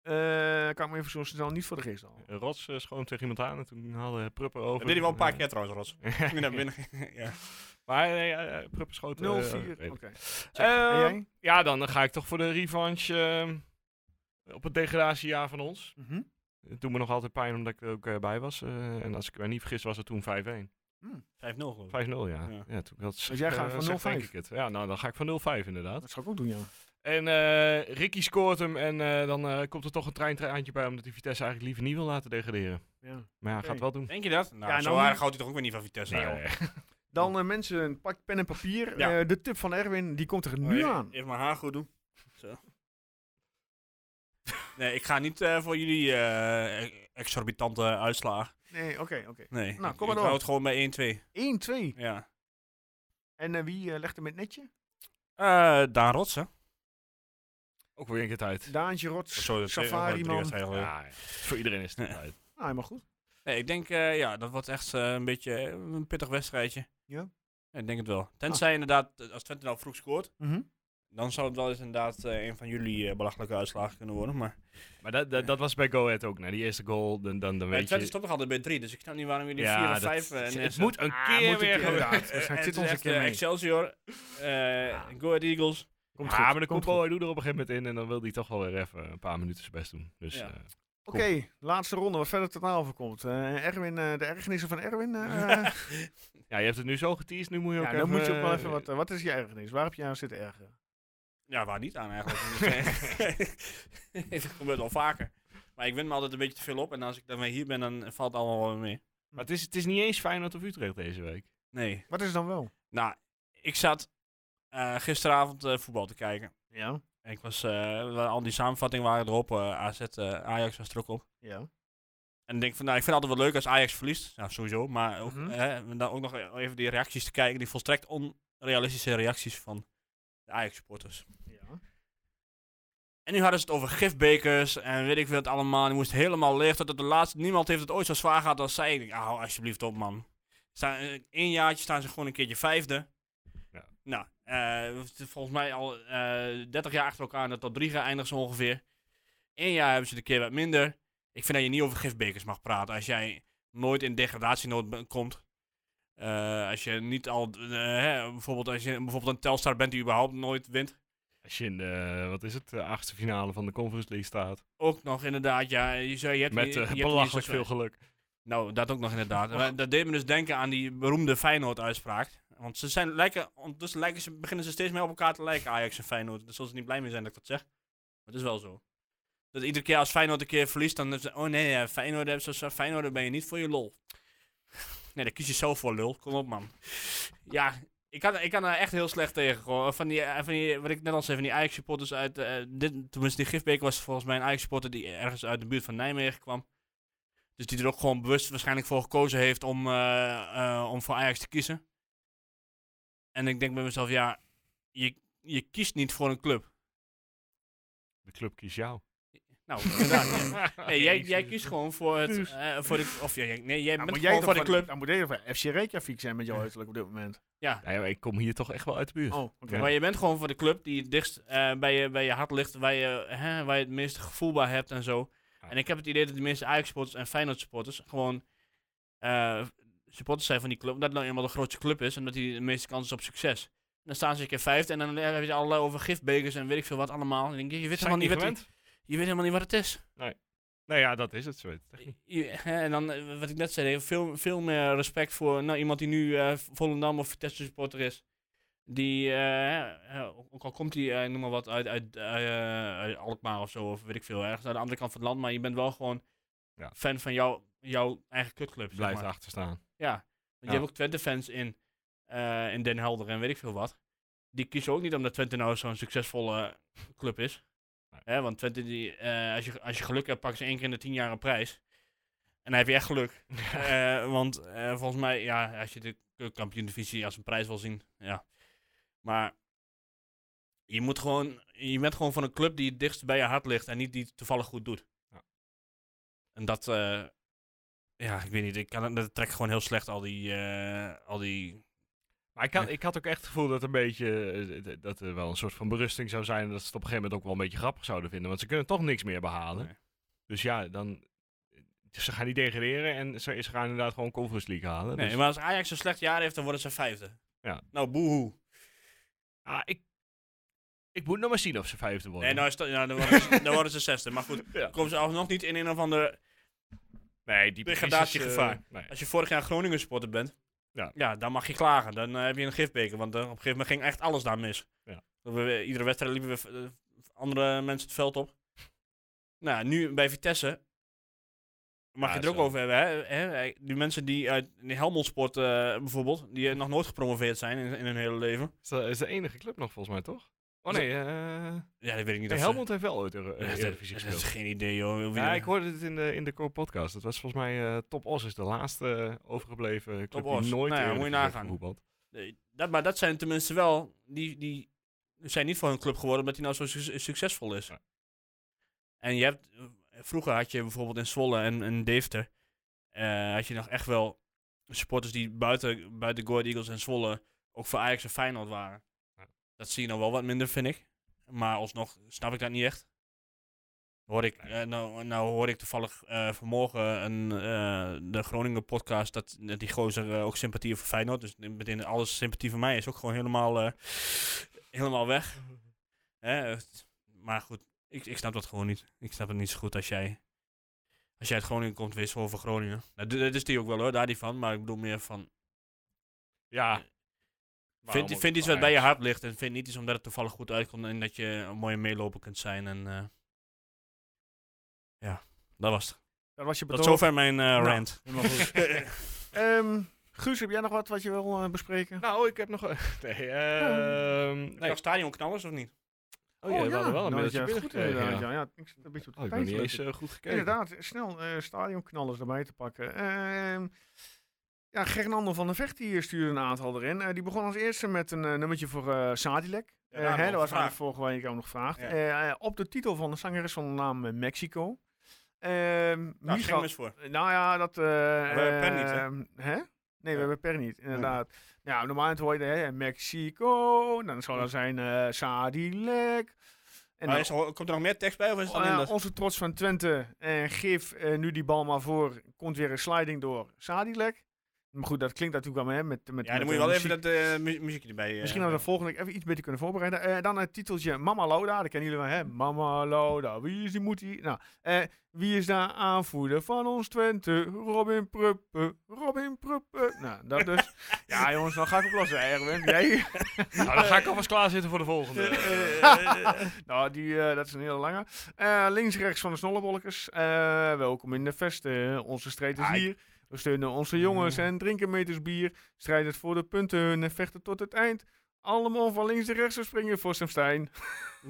Speaker 1: Eh, kan ik me even zo snel niet voor de geest halen.
Speaker 4: Een Rots eh, schoon tegen iemand aan en toen hadden Pruppen over.
Speaker 5: Dat deed hij wel een paar keer trouwens, Rots. Ik ben naar binnen. ja.
Speaker 4: maar nee, eh, eh, Pruppen schoot. eh,
Speaker 1: 0-4.
Speaker 4: redelijk.
Speaker 1: Oké.
Speaker 4: Ehm,
Speaker 1: En jij?
Speaker 4: ja, dan eh, ga ik toch voor de revanche eh, op het degradatiejaar van ons.
Speaker 1: Mhm.
Speaker 4: Het doet me nog altijd pijn omdat ik er ook eh, bij was. eh, en als ik me niet vergis was het toen 5-1.
Speaker 1: Mm,
Speaker 5: 5-0 geloof
Speaker 4: 5-0,
Speaker 5: ik.
Speaker 4: ja. ja.
Speaker 5: Ja.
Speaker 4: toen ik dat zeg,
Speaker 1: Dus jij gaat
Speaker 4: eh,
Speaker 1: voor
Speaker 4: zeg,
Speaker 1: 0-5?
Speaker 4: denk ik het. Ja, nou dan ga ik voor 0-5 inderdaad.
Speaker 1: Dat zou ik ook doen, ja.
Speaker 4: En eh, Ricky scoort hem en eh, dan eh, komt er toch een treintraantje bij omdat hij Vitesse eigenlijk liever niet wil laten degraderen.
Speaker 1: ja.
Speaker 4: Maar ja,
Speaker 1: Oké.
Speaker 4: gaat het wel doen.
Speaker 5: Denk je dat? Nou,
Speaker 1: Ja,
Speaker 5: zo
Speaker 1: nou-
Speaker 5: aardig houdt hij toch ook weer niet van Vitesse.
Speaker 4: Nee,
Speaker 5: aan.
Speaker 4: joh.
Speaker 1: Dan eh, mensen, pak pen en papier.
Speaker 5: Ja.
Speaker 1: Eh, de tip van Erwin, die komt er nu
Speaker 5: Oh, e-
Speaker 1: aan.
Speaker 5: Even mijn haar goed doen. Zo. nee, ik ga niet eh, voor jullie eh, e- exorbitante uitslagen.
Speaker 1: Nee, oké, oké.
Speaker 5: Nee.
Speaker 1: Nou,
Speaker 5: ik-
Speaker 1: kom maar
Speaker 5: Ik
Speaker 1: door.
Speaker 5: hou het gewoon bij 1-2.
Speaker 1: 1-2.
Speaker 5: Ja.
Speaker 1: En eh, wie eh, legt hem met netje?
Speaker 5: Eh Daan Rotsen.
Speaker 4: Ook weer een keer tijd.
Speaker 1: Daantje Rots,
Speaker 4: eh,
Speaker 5: eh, oh,
Speaker 1: Safari man. Nou,
Speaker 4: Ja, ja. voor iedereen is het
Speaker 5: Ja.
Speaker 4: tijd.
Speaker 1: helemaal goed.
Speaker 5: Nee, ik denk, eh, ja, dat wordt echt eh, een beetje eh, een pittig wedstrijdje.
Speaker 1: Ja. Ah.
Speaker 5: Ik denk het wel. Tenzij inderdaad, eh, als Twente nou vroeg scoort,
Speaker 1: Mhm.
Speaker 5: dan zou het wel eens inderdaad eh, een van jullie eh, belachelijke uitslagen kunnen worden. Maar
Speaker 4: Maar dat, dat, dat was bij Go Ahead ook. Na die eerste goal, dan, dan, dan
Speaker 5: Bij
Speaker 4: weet
Speaker 5: Twente
Speaker 4: je...
Speaker 5: stopt nog altijd bij 3, dus ik snap niet waarom jullie 4
Speaker 4: Ja,
Speaker 5: of eh,
Speaker 4: dat-
Speaker 5: 5
Speaker 4: het moet
Speaker 1: Ah,
Speaker 4: een keer weer gebeuren.
Speaker 1: inderdaad. Waarschijnlijk zit ons een keer mee.
Speaker 5: Excelsior, eh, Go Ahead Eagles.
Speaker 1: Komt
Speaker 4: ja,
Speaker 1: goed,
Speaker 4: maar de
Speaker 1: Ah, komt
Speaker 4: komt doet er op een gegeven moment in en dan wil hij toch wel weer even een paar minuten zijn best doen. Dus
Speaker 5: Ja.
Speaker 4: eh,
Speaker 1: Oké, laatste ronde waar verder ten aanval komt. Eh, Erwin, eh, de ergernissen van Erwin. eh, eh,
Speaker 4: ja, je hebt het nu zo geteased, nu moet je ook
Speaker 1: ja,
Speaker 4: even...
Speaker 1: dan nou moet je ook wel even wat... eh, wat is je ergernis? Waar heb je aan zitten ergeren?
Speaker 5: Ja, waar niet aan eigenlijk. Het gebeurt al vaker. Maar ik win me altijd een beetje te veel op. En als ik dan weer hier ben, dan valt het allemaal wel weer mee.
Speaker 4: Maar het is, het is niet eens Feyenoord of Utrecht deze week.
Speaker 5: Nee.
Speaker 1: Wat is het dan wel?
Speaker 5: Nou, ik zat eh, gisteravond eh, voetbal te kijken.
Speaker 1: Ja.
Speaker 5: En ik was, eh, wa- al die samenvattingen waren erop. eh, AZ, eh, Ajax was er ook op.
Speaker 1: Ja.
Speaker 5: En ik denk van, nou, ik vind het altijd wel leuk als Ajax verliest. Nou, sowieso. Maar ook,
Speaker 1: Mhm.
Speaker 5: eh, en dan ook nog even die reacties te kijken. Die volstrekt onrealistische reacties van de Ajax-supporters.
Speaker 1: ja.
Speaker 5: En nu hadden ze het over gifbekers en weet ik veel het allemaal. Die moest helemaal leeg tot het de laatste. Niemand heeft het ooit zo zwaar gehad als zij. Ik denk, ah, hou alsjeblieft op, man. Staan, een jaartje staan ze gewoon een keertje vijfde.
Speaker 4: Ja.
Speaker 5: Nou, eh, het is volgens mij al eh 30 jaar achter elkaar in de top 3 geëindigd zo ongeveer. Eén jaar hebben ze de keer wat minder. Ik vind dat je niet over gifbekers mag praten. Als jij nooit in degradatienood be- komt. Eh, als je niet al, eh, hè, bijvoorbeeld als je bijvoorbeeld een Telstar bent die überhaupt nooit wint.
Speaker 4: Als je in de, wat is het, de achtste finale van de Conference League staat.
Speaker 5: Ook nog inderdaad, ja, je, zei- je hebt
Speaker 4: met
Speaker 5: niet-
Speaker 4: eh,
Speaker 5: je hebt niet
Speaker 4: belachelijk
Speaker 5: zoveel-
Speaker 4: veel geluk.
Speaker 5: Nou, dat ook nog inderdaad. Maar dat deed me dus denken aan die beroemde Feyenoord-uitspraak. Want ze zijn, lijken, ondertussen lijken ze, beginnen ze steeds meer op elkaar te lijken, Ajax en Feyenoord. Daar zullen ze niet blij mee zijn dat ik dat zeg. Maar het is wel zo. Dat iedere keer als Feyenoord een keer verliest, dan is het, oh nee, eh, Feyenoord, hebben ze, zo- Feyenoord ben je niet voor je lol. Nee, daar kies je zelf voor, lul. Kom op, man. Ja, ik kan, ik kan er echt heel slecht tegen. Gewoon. Van die, eh, van die, wat ik net al zei, van die Ajax-supporters uit... eh dit, tenminste, die Gifbeek was volgens mij een Ajax-supporter die ergens uit de buurt van Nijmegen kwam. Dus die er ook gewoon bewust waarschijnlijk voor gekozen heeft om, eh, eh, om voor Ajax te kiezen. En ik denk bij mezelf, ja, je, je kiest niet voor een club.
Speaker 4: De club kiest jou.
Speaker 5: Nou, inderdaad. ja. Nee, jij, jij
Speaker 4: Jezus.
Speaker 5: kiest gewoon voor het... eh, voor de, of jij, nee, jij bent
Speaker 1: moet
Speaker 5: gewoon
Speaker 1: jij
Speaker 5: voor de club.
Speaker 1: Dan moet jij van FC Reykjavik zijn met jouw uiterlijk op dit moment.
Speaker 5: Ja.
Speaker 4: Nou ja, maar ik kom hier toch echt wel uit de buurt.
Speaker 1: Oh, oké.
Speaker 5: Maar je bent gewoon voor de club die het dichtst eh, bij, je, bij je hart ligt, waar je, hè, waar je het meeste gevoel bij hebt en zo.
Speaker 4: Ja.
Speaker 5: En ik heb het idee dat de meeste Ajax-supporters en Feyenoord-supporters gewoon eh, supporters zijn van die club. Omdat het nou eenmaal de grootste club is en dat die de meeste kans is op succes. En dan staan ze een keer vijfde en dan heb je allerlei over gifbekers en weet ik veel wat allemaal. En dan denk je, je weet,
Speaker 4: Zijn
Speaker 5: helemaal niet, wat,
Speaker 4: gewend?
Speaker 5: je weet helemaal niet wat het is.
Speaker 4: Nou ja, dat is het. Zo.
Speaker 5: Je- hè, en dan, eh, wat ik net zei, veel, veel meer respect voor nou, iemand die nu eh, Volendam of Vitesse supporter is. Die, eh, hè, eh, ook al komt hij, eh, noem maar wat, uit, uit, eh, uit Alkmaar of zo, of weet ik veel, ergens aan de andere kant van het land. Maar je bent wel gewoon
Speaker 4: Ja.
Speaker 5: fan van jouw, jouw eigen kutclub. Zeg
Speaker 4: Blijft
Speaker 5: maar.
Speaker 4: achter staan.
Speaker 5: Ja, want je
Speaker 4: Ja.
Speaker 5: hebt ook Twente-fans in, eh, in Den Helder en weet ik veel wat. Die kiezen ook niet omdat Twente nou zo'n succesvolle club is.
Speaker 4: Nee.
Speaker 5: Hè, want Twente, die, eh, als, je, als je geluk hebt, pakken ze één keer in de tien jaar een prijs. En dan heb je echt geluk. Eh, want eh, volgens mij, ja, als je de kampioen-divisie als een prijs wil zien, ja. Maar je, moet gewoon, je bent gewoon van een club die het dichtst bij je hart ligt en niet die het toevallig goed doet.
Speaker 4: Ja.
Speaker 5: En dat, eh, ja, ik weet niet. Ik kan, het- dat trekt gewoon heel slecht al die, eh, al die...
Speaker 4: Maar ik had,
Speaker 5: Ja.
Speaker 4: ik had ook echt het gevoel dat, een beetje, eh, d- d- dat er wel een soort van berusting zou zijn. En dat ze het op een gegeven moment ook wel een beetje grappig zouden vinden. Want ze kunnen toch niks meer behalen.
Speaker 5: Nee.
Speaker 4: Dus ja, dan... eh, Ze gaan niet degraderen en ze, ze gaan inderdaad gewoon Conference League halen.
Speaker 5: Nee,
Speaker 4: Dus-
Speaker 5: maar als Ajax een slecht jaar heeft, dan worden ze vijfde.
Speaker 4: Ja.
Speaker 5: Nou, boehoe.
Speaker 4: Ah, ik, ik moet nog maar zien of ze vijfde worden.
Speaker 5: Nee, nou is dat, nou, dan, worden ze, dan worden ze zesde. Maar goed,
Speaker 4: Ja.
Speaker 5: komen ze alsnog niet in een of ander...
Speaker 4: nee die precies is,
Speaker 5: Degradatiegevaar.
Speaker 4: eh, nee.
Speaker 5: Als je vorig jaar Groningen supporter bent,
Speaker 4: Ja.
Speaker 5: dan mag je klagen. Dan eh, heb je een gifbeker, want eh, op een gegeven moment ging echt alles daar mis.
Speaker 4: Ja.
Speaker 5: Dat we weer- iedere wedstrijd liepen we v- eh, andere mensen het veld op. Nou, nu bij Vitesse mag
Speaker 4: Ja,
Speaker 5: je het er
Speaker 4: zo.
Speaker 5: ook over hebben. Hè? Hè? Die mensen die uit die Helmond Sport eh, bijvoorbeeld, die eh, nog nooit gepromoveerd zijn in, in hun hele leven.
Speaker 4: Is dat- is de enige club nog volgens mij, toch? Oh
Speaker 5: Is
Speaker 4: nee, eh
Speaker 5: Ja, dat weet ik niet.
Speaker 4: nee
Speaker 5: of ze-
Speaker 4: Helmond heeft wel ooit Euro eh,
Speaker 5: Ja, dat-
Speaker 4: Eredivisie
Speaker 5: dat
Speaker 4: gespeeld.
Speaker 5: is geen idee, joh. Wie-
Speaker 4: Ja, ik hoorde het in de, in de Core podcast. Dat was volgens mij eh, Top Os is de laatste eh, overgebleven club
Speaker 5: Top
Speaker 4: die
Speaker 5: Os.
Speaker 4: nooit
Speaker 5: Nou ja,
Speaker 4: de
Speaker 5: moet
Speaker 4: Eredivisie
Speaker 5: je nagaan.
Speaker 4: heeft gevoetbald.
Speaker 5: Nee, dat, maar dat zijn tenminste wel, die, die zijn niet voor hun club geworden omdat die nou zo suc- succesvol is.
Speaker 4: Ja.
Speaker 5: En je hebt, vroeger had je bijvoorbeeld in Zwolle en, en Deventer, eh, had je nog echt wel supporters die buiten, buiten Go Ahead Eagles en Zwolle ook voor Ajax en Feyenoord waren.
Speaker 4: Ja.
Speaker 5: Dat zie je nou wel wat minder, vind ik. Maar alsnog snap ik dat niet echt. Hoor ik, eh, nou, nou hoor ik toevallig eh, vanmorgen een, eh, de Groningen podcast dat dat die gozer eh, ook sympathie heeft voor Feyenoord. Dus meteen alles sympathie voor mij is ook gewoon helemaal, eh, helemaal weg. Hè, het- maar goed, ik, ik snap dat gewoon niet. Ik snap het niet zo goed als jij, als jij uit Groningen komt, wees voor voor Groningen. Nou, d- dat is die ook wel hoor, daar die van. Maar ik bedoel meer van,
Speaker 4: Ja.
Speaker 5: vind, vind iets wat bij je hart ligt en vind niet iets omdat het toevallig goed uitkomt en dat je een mooie meeloper kunt zijn. En eh, ja, dat was het.
Speaker 1: Dat was je
Speaker 5: Tot
Speaker 1: betoog.
Speaker 5: zover mijn eh,
Speaker 1: Nou,
Speaker 5: rant.
Speaker 1: helemaal goed. Ehm, Guus, heb jij nog wat wat je wil eh, bespreken?
Speaker 4: Nou, ik heb nog... Nee, ehm nee.
Speaker 5: Nog stadionknallers of niet?
Speaker 4: Oh ja, we hadden wel een
Speaker 1: Nou, dat
Speaker 4: mailtje
Speaker 1: is goed
Speaker 4: binnengekregen,
Speaker 1: inderdaad.
Speaker 4: ja.
Speaker 1: Ja, ja, ik zit een beetje op de
Speaker 4: Oh, ik ben
Speaker 1: tijd,
Speaker 4: niet
Speaker 1: leuk.
Speaker 4: eens eh, goed gekeken.
Speaker 1: Inderdaad, snel eh stadionknallers erbij te pakken. Ehm ja, Gernander van der Vecht die stuurde een aantal erin. Eh, die begon als eerste met een eh, nummertje voor eh Sadilek.
Speaker 5: Ja,
Speaker 1: Eh,
Speaker 5: daar
Speaker 1: hè,
Speaker 5: hebben we
Speaker 1: dat was
Speaker 5: gevraagd.
Speaker 1: eigenlijk vorige week ook nog gevraagd.
Speaker 5: Ja.
Speaker 1: Eh, eh, op de titel van de zanger is van de naam eh, Mexico. Ehm
Speaker 5: Nou,
Speaker 1: Micha-
Speaker 5: ging mis voor.
Speaker 1: nou ja, dat... eh we
Speaker 5: hebben Per niet, hè?
Speaker 1: hè? Nee, we hebben Per niet, inderdaad. Ja, normaal hoor je hè, Mexico, dan zou dat zijn eh Sadilek. En
Speaker 5: Maar
Speaker 1: dan-
Speaker 5: is er- komt er nog meer tekst bij of is het
Speaker 1: Oh,
Speaker 5: alleen
Speaker 1: ja,
Speaker 5: dat?
Speaker 1: onze trots van Twente. eh geef eh, nu die bal maar voor. Komt weer een sliding door Sadilek. Maar goed, dat klinkt natuurlijk wel hè, met, met
Speaker 5: ja,
Speaker 1: met,
Speaker 5: dan moet je
Speaker 1: eh,
Speaker 5: wel even
Speaker 1: muziek.
Speaker 5: dat eh, mu- muziekje erbij. eh,
Speaker 1: Misschien hadden we de volgende keer even iets beter kunnen voorbereiden. Eh, dan het titeltje Mama Loda. Dat kennen jullie wel, hè? Mama Loda. Wie is die moet die? Nou, eh, wie is daar aanvoerder van ons Twente? Robin Pruppe. Robin Pruppe. Nou, dat dus. ja, jongens, dan ga ik oplossen, Erwin. Jij?
Speaker 4: Nou, dan ga ik alvast klaarzitten voor de volgende.
Speaker 1: nou, die, eh, dat is een hele lange. Eh, links, rechts van de snollebolkers. Eh, welkom in de vesten. Onze strijd is
Speaker 4: Ah, ik-
Speaker 1: hier. We steunen onze jongens en drinken meters bier. Strijden voor de punten hun en vechten tot het eind. Allemaal van links en rechts we springen voor Sam Stein.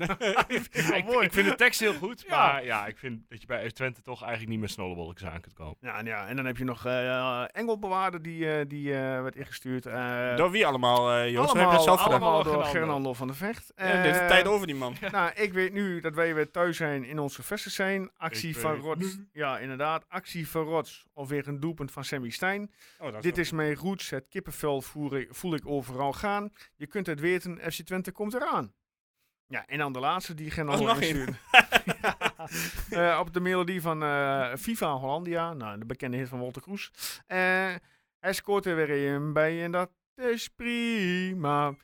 Speaker 4: Ja, ik, ik vind de tekst heel goed,
Speaker 1: Ja.
Speaker 4: maar ja, ik vind dat je bij FC Twente toch eigenlijk niet meer snollebolletjes aan kunt komen.
Speaker 1: Ja, en ja, en dan heb je nog eh Engelbewaarder die, eh, die eh, werd ingestuurd. Eh
Speaker 5: Door wie allemaal, eh Joost? We
Speaker 1: allemaal,
Speaker 5: hebben dat zelf gedaan.
Speaker 1: allemaal
Speaker 4: gedaan.
Speaker 1: door
Speaker 4: Gernando.
Speaker 1: Gernando van de Vecht.
Speaker 5: Ja, dit is de
Speaker 1: Eh,
Speaker 5: tijd over die man.
Speaker 1: Nou, ik weet nu dat wij weer thuis zijn in onze vesten zijn. Actie
Speaker 4: Ik
Speaker 1: van
Speaker 4: weet
Speaker 1: Rots. Ja, inderdaad. Actie van Rots. Of weer een doelpunt van Sammy Stijn.
Speaker 5: Oh, dat
Speaker 1: Dit is mijn roots. Het kippenvel voer ik- voel ik overal gaan. Je kunt het weten. FC Twente komt eraan. Ja, en dan de laatste die Gernando
Speaker 5: Oh, nog één.
Speaker 1: instuurde. ja. Eh, op de melodie van eh FIFA Hollandia. Nou, de bekende hit van Walter Kroes. Eh, hij scoort er weer een bij en dat is prima.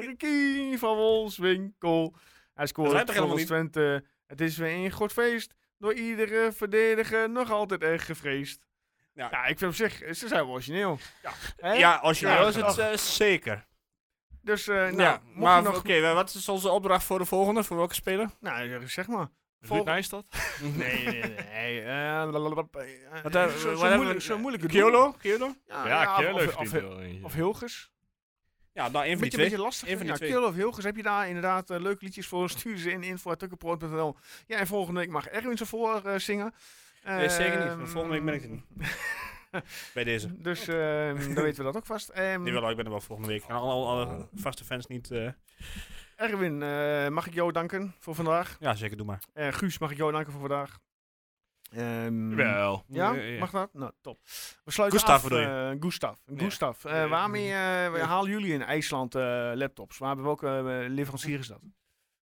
Speaker 1: Ricky van Wolfswinkel. Hij
Speaker 5: Dat
Speaker 1: scoort
Speaker 5: rijmt toch
Speaker 1: voor ons
Speaker 5: helemaal niet?
Speaker 1: Twente. Het is weer een goed feest. Door iedere verdediger nog altijd erg gevreesd. Ja,
Speaker 5: Ja.
Speaker 1: ik vind op zich, eh, ze zijn wel origineel. Hè?
Speaker 5: Ja, als je
Speaker 1: Ja,
Speaker 5: wil is
Speaker 1: gedacht.
Speaker 5: het eh, zeker.
Speaker 1: Dus, eh, nou,
Speaker 5: ja,
Speaker 1: mocht
Speaker 5: maar
Speaker 1: je nog...
Speaker 5: oké, wat is onze opdracht voor de volgende? Voor welke speler?
Speaker 1: Nou, zeg maar.
Speaker 4: Ruud
Speaker 1: Volgende-
Speaker 4: Nijstad?
Speaker 1: Nee, nee, nee. eh, lalalala, eh,
Speaker 5: Wat,
Speaker 1: eh, zo-
Speaker 5: eh, wat
Speaker 1: Zo
Speaker 5: hebben
Speaker 1: moeilijk-
Speaker 5: we-
Speaker 1: zo moeilijk. het doen.
Speaker 5: Kiolo? Kiolo?
Speaker 1: Ja,
Speaker 4: ja,
Speaker 1: Ah, ja,
Speaker 4: Keurle
Speaker 1: of,
Speaker 4: heeft
Speaker 1: of,
Speaker 4: die wel eentje.
Speaker 1: of Hilgers.
Speaker 5: Ja, nou, één van
Speaker 1: Beetje,
Speaker 5: die twee.
Speaker 1: beetje lastig.
Speaker 5: Eén van die
Speaker 1: Ja,
Speaker 5: twee.
Speaker 1: Kill of Hilgers, heb je daar inderdaad eh, leuke liedjes voor? Stuur ze in info.tukkenproot.nl. Ja, en volgende week mag Erwin ze voor eh, zingen.
Speaker 5: Nee, Eh, zeker niet.
Speaker 1: Ehm,
Speaker 5: want volgende week ben ik er niet. Bij deze.
Speaker 1: Dus ehm, dan weten we dat ook vast. Ehm,
Speaker 5: Nee, wel, ik ben er wel volgende week. En Alle, alle, alle vaste fans niet. eh,
Speaker 1: Erwin, eh, mag ik jou danken voor vandaag?
Speaker 5: Ja, zeker, doe maar.
Speaker 1: Eh, Guus, mag ik jou danken voor vandaag? Ehm,
Speaker 4: Wel.
Speaker 1: Ja,
Speaker 5: Ja, ja.
Speaker 1: mag dat? Nou, top. We sluiten
Speaker 5: Gustav
Speaker 1: af.
Speaker 5: bedoel je?
Speaker 1: eh, Gustav.
Speaker 5: Ja.
Speaker 1: Gustav. Eh,
Speaker 5: Ja.
Speaker 1: waarmee eh, halen jullie in IJsland eh, laptops? Waar, bij welke eh, leverancier is dat?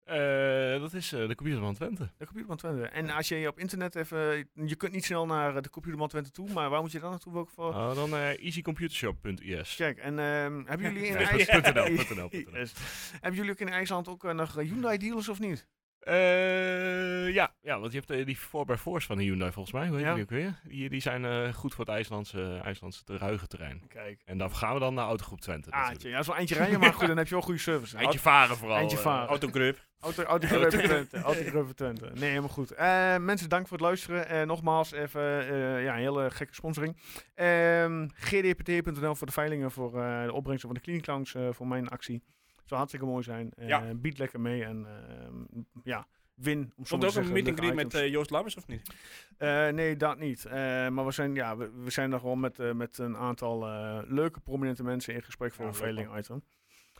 Speaker 4: Eh, dat is eh, de computer van Twente.
Speaker 1: De computerman Twente. En als je op internet even... Je kunt niet snel naar eh, de computerman Twente toe, maar waar moet je dan naartoe? Welke
Speaker 5: Oh.
Speaker 1: voor?
Speaker 4: Nou, dan eh, easycomputershop.is.
Speaker 1: Check. En ehm, hebben jullie in
Speaker 4: Nee,
Speaker 1: IJs-
Speaker 4: .nl, .nl, .nl.
Speaker 1: Yes. Hebben jullie ook in IJsland ook eh, nog Hyundai dealers of niet?
Speaker 4: Eh, ja, ja, want je hebt eh, die 4x4's van de Hyundai volgens mij, hoe heet
Speaker 1: Ja.
Speaker 4: die ook weer? Die, die zijn eh, goed voor het IJslandse, IJslandse te- ruige terrein.
Speaker 1: Kijk.
Speaker 4: En dan gaan we dan naar Autogroep Twente
Speaker 1: Ah,
Speaker 4: natuurlijk.
Speaker 1: tje, ja, dat is wel eindje rijden, maar goed, dan heb je wel goede service.
Speaker 4: Eindje varen vooral.
Speaker 1: Eindje
Speaker 4: eh.
Speaker 1: varen.
Speaker 5: Autogrup.
Speaker 1: Auto, auto, Club Twente. Auto Club Twente. Nee, helemaal goed. Eh, mensen, dank voor het luisteren. Eh, nogmaals, even eh, ja, een hele gekke sponsoring. Ehm gdpt.nl voor de veilingen, voor eh, de opbrengsten van de Clean Clowns, eh, voor mijn actie. Zou hartstikke mooi zijn. Eh,
Speaker 5: Ja.
Speaker 1: Bied lekker mee en ehm, ja, win. Om zo
Speaker 5: Stond
Speaker 1: maar
Speaker 5: ook
Speaker 1: te zeggen,
Speaker 5: een meeting
Speaker 1: leuke
Speaker 5: greet met
Speaker 1: items.
Speaker 5: eh, Joost Lammers of niet?
Speaker 1: Eh, nee, dat niet. Eh, maar we zijn, ja, we, we zijn er gewoon met, eh, met een aantal eh, leuke, prominente mensen in gesprek voor
Speaker 5: Ja,
Speaker 1: een
Speaker 5: leuk, man.
Speaker 1: veiling item.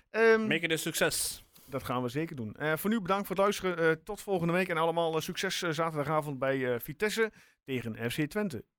Speaker 1: Ehm,
Speaker 5: Make it a succes.
Speaker 1: dat gaan we zeker doen. Eh, voor nu bedankt voor het luisteren. Eh, tot volgende week. En allemaal eh, succes eh, zaterdagavond bij eh, Vitesse tegen FC Twente.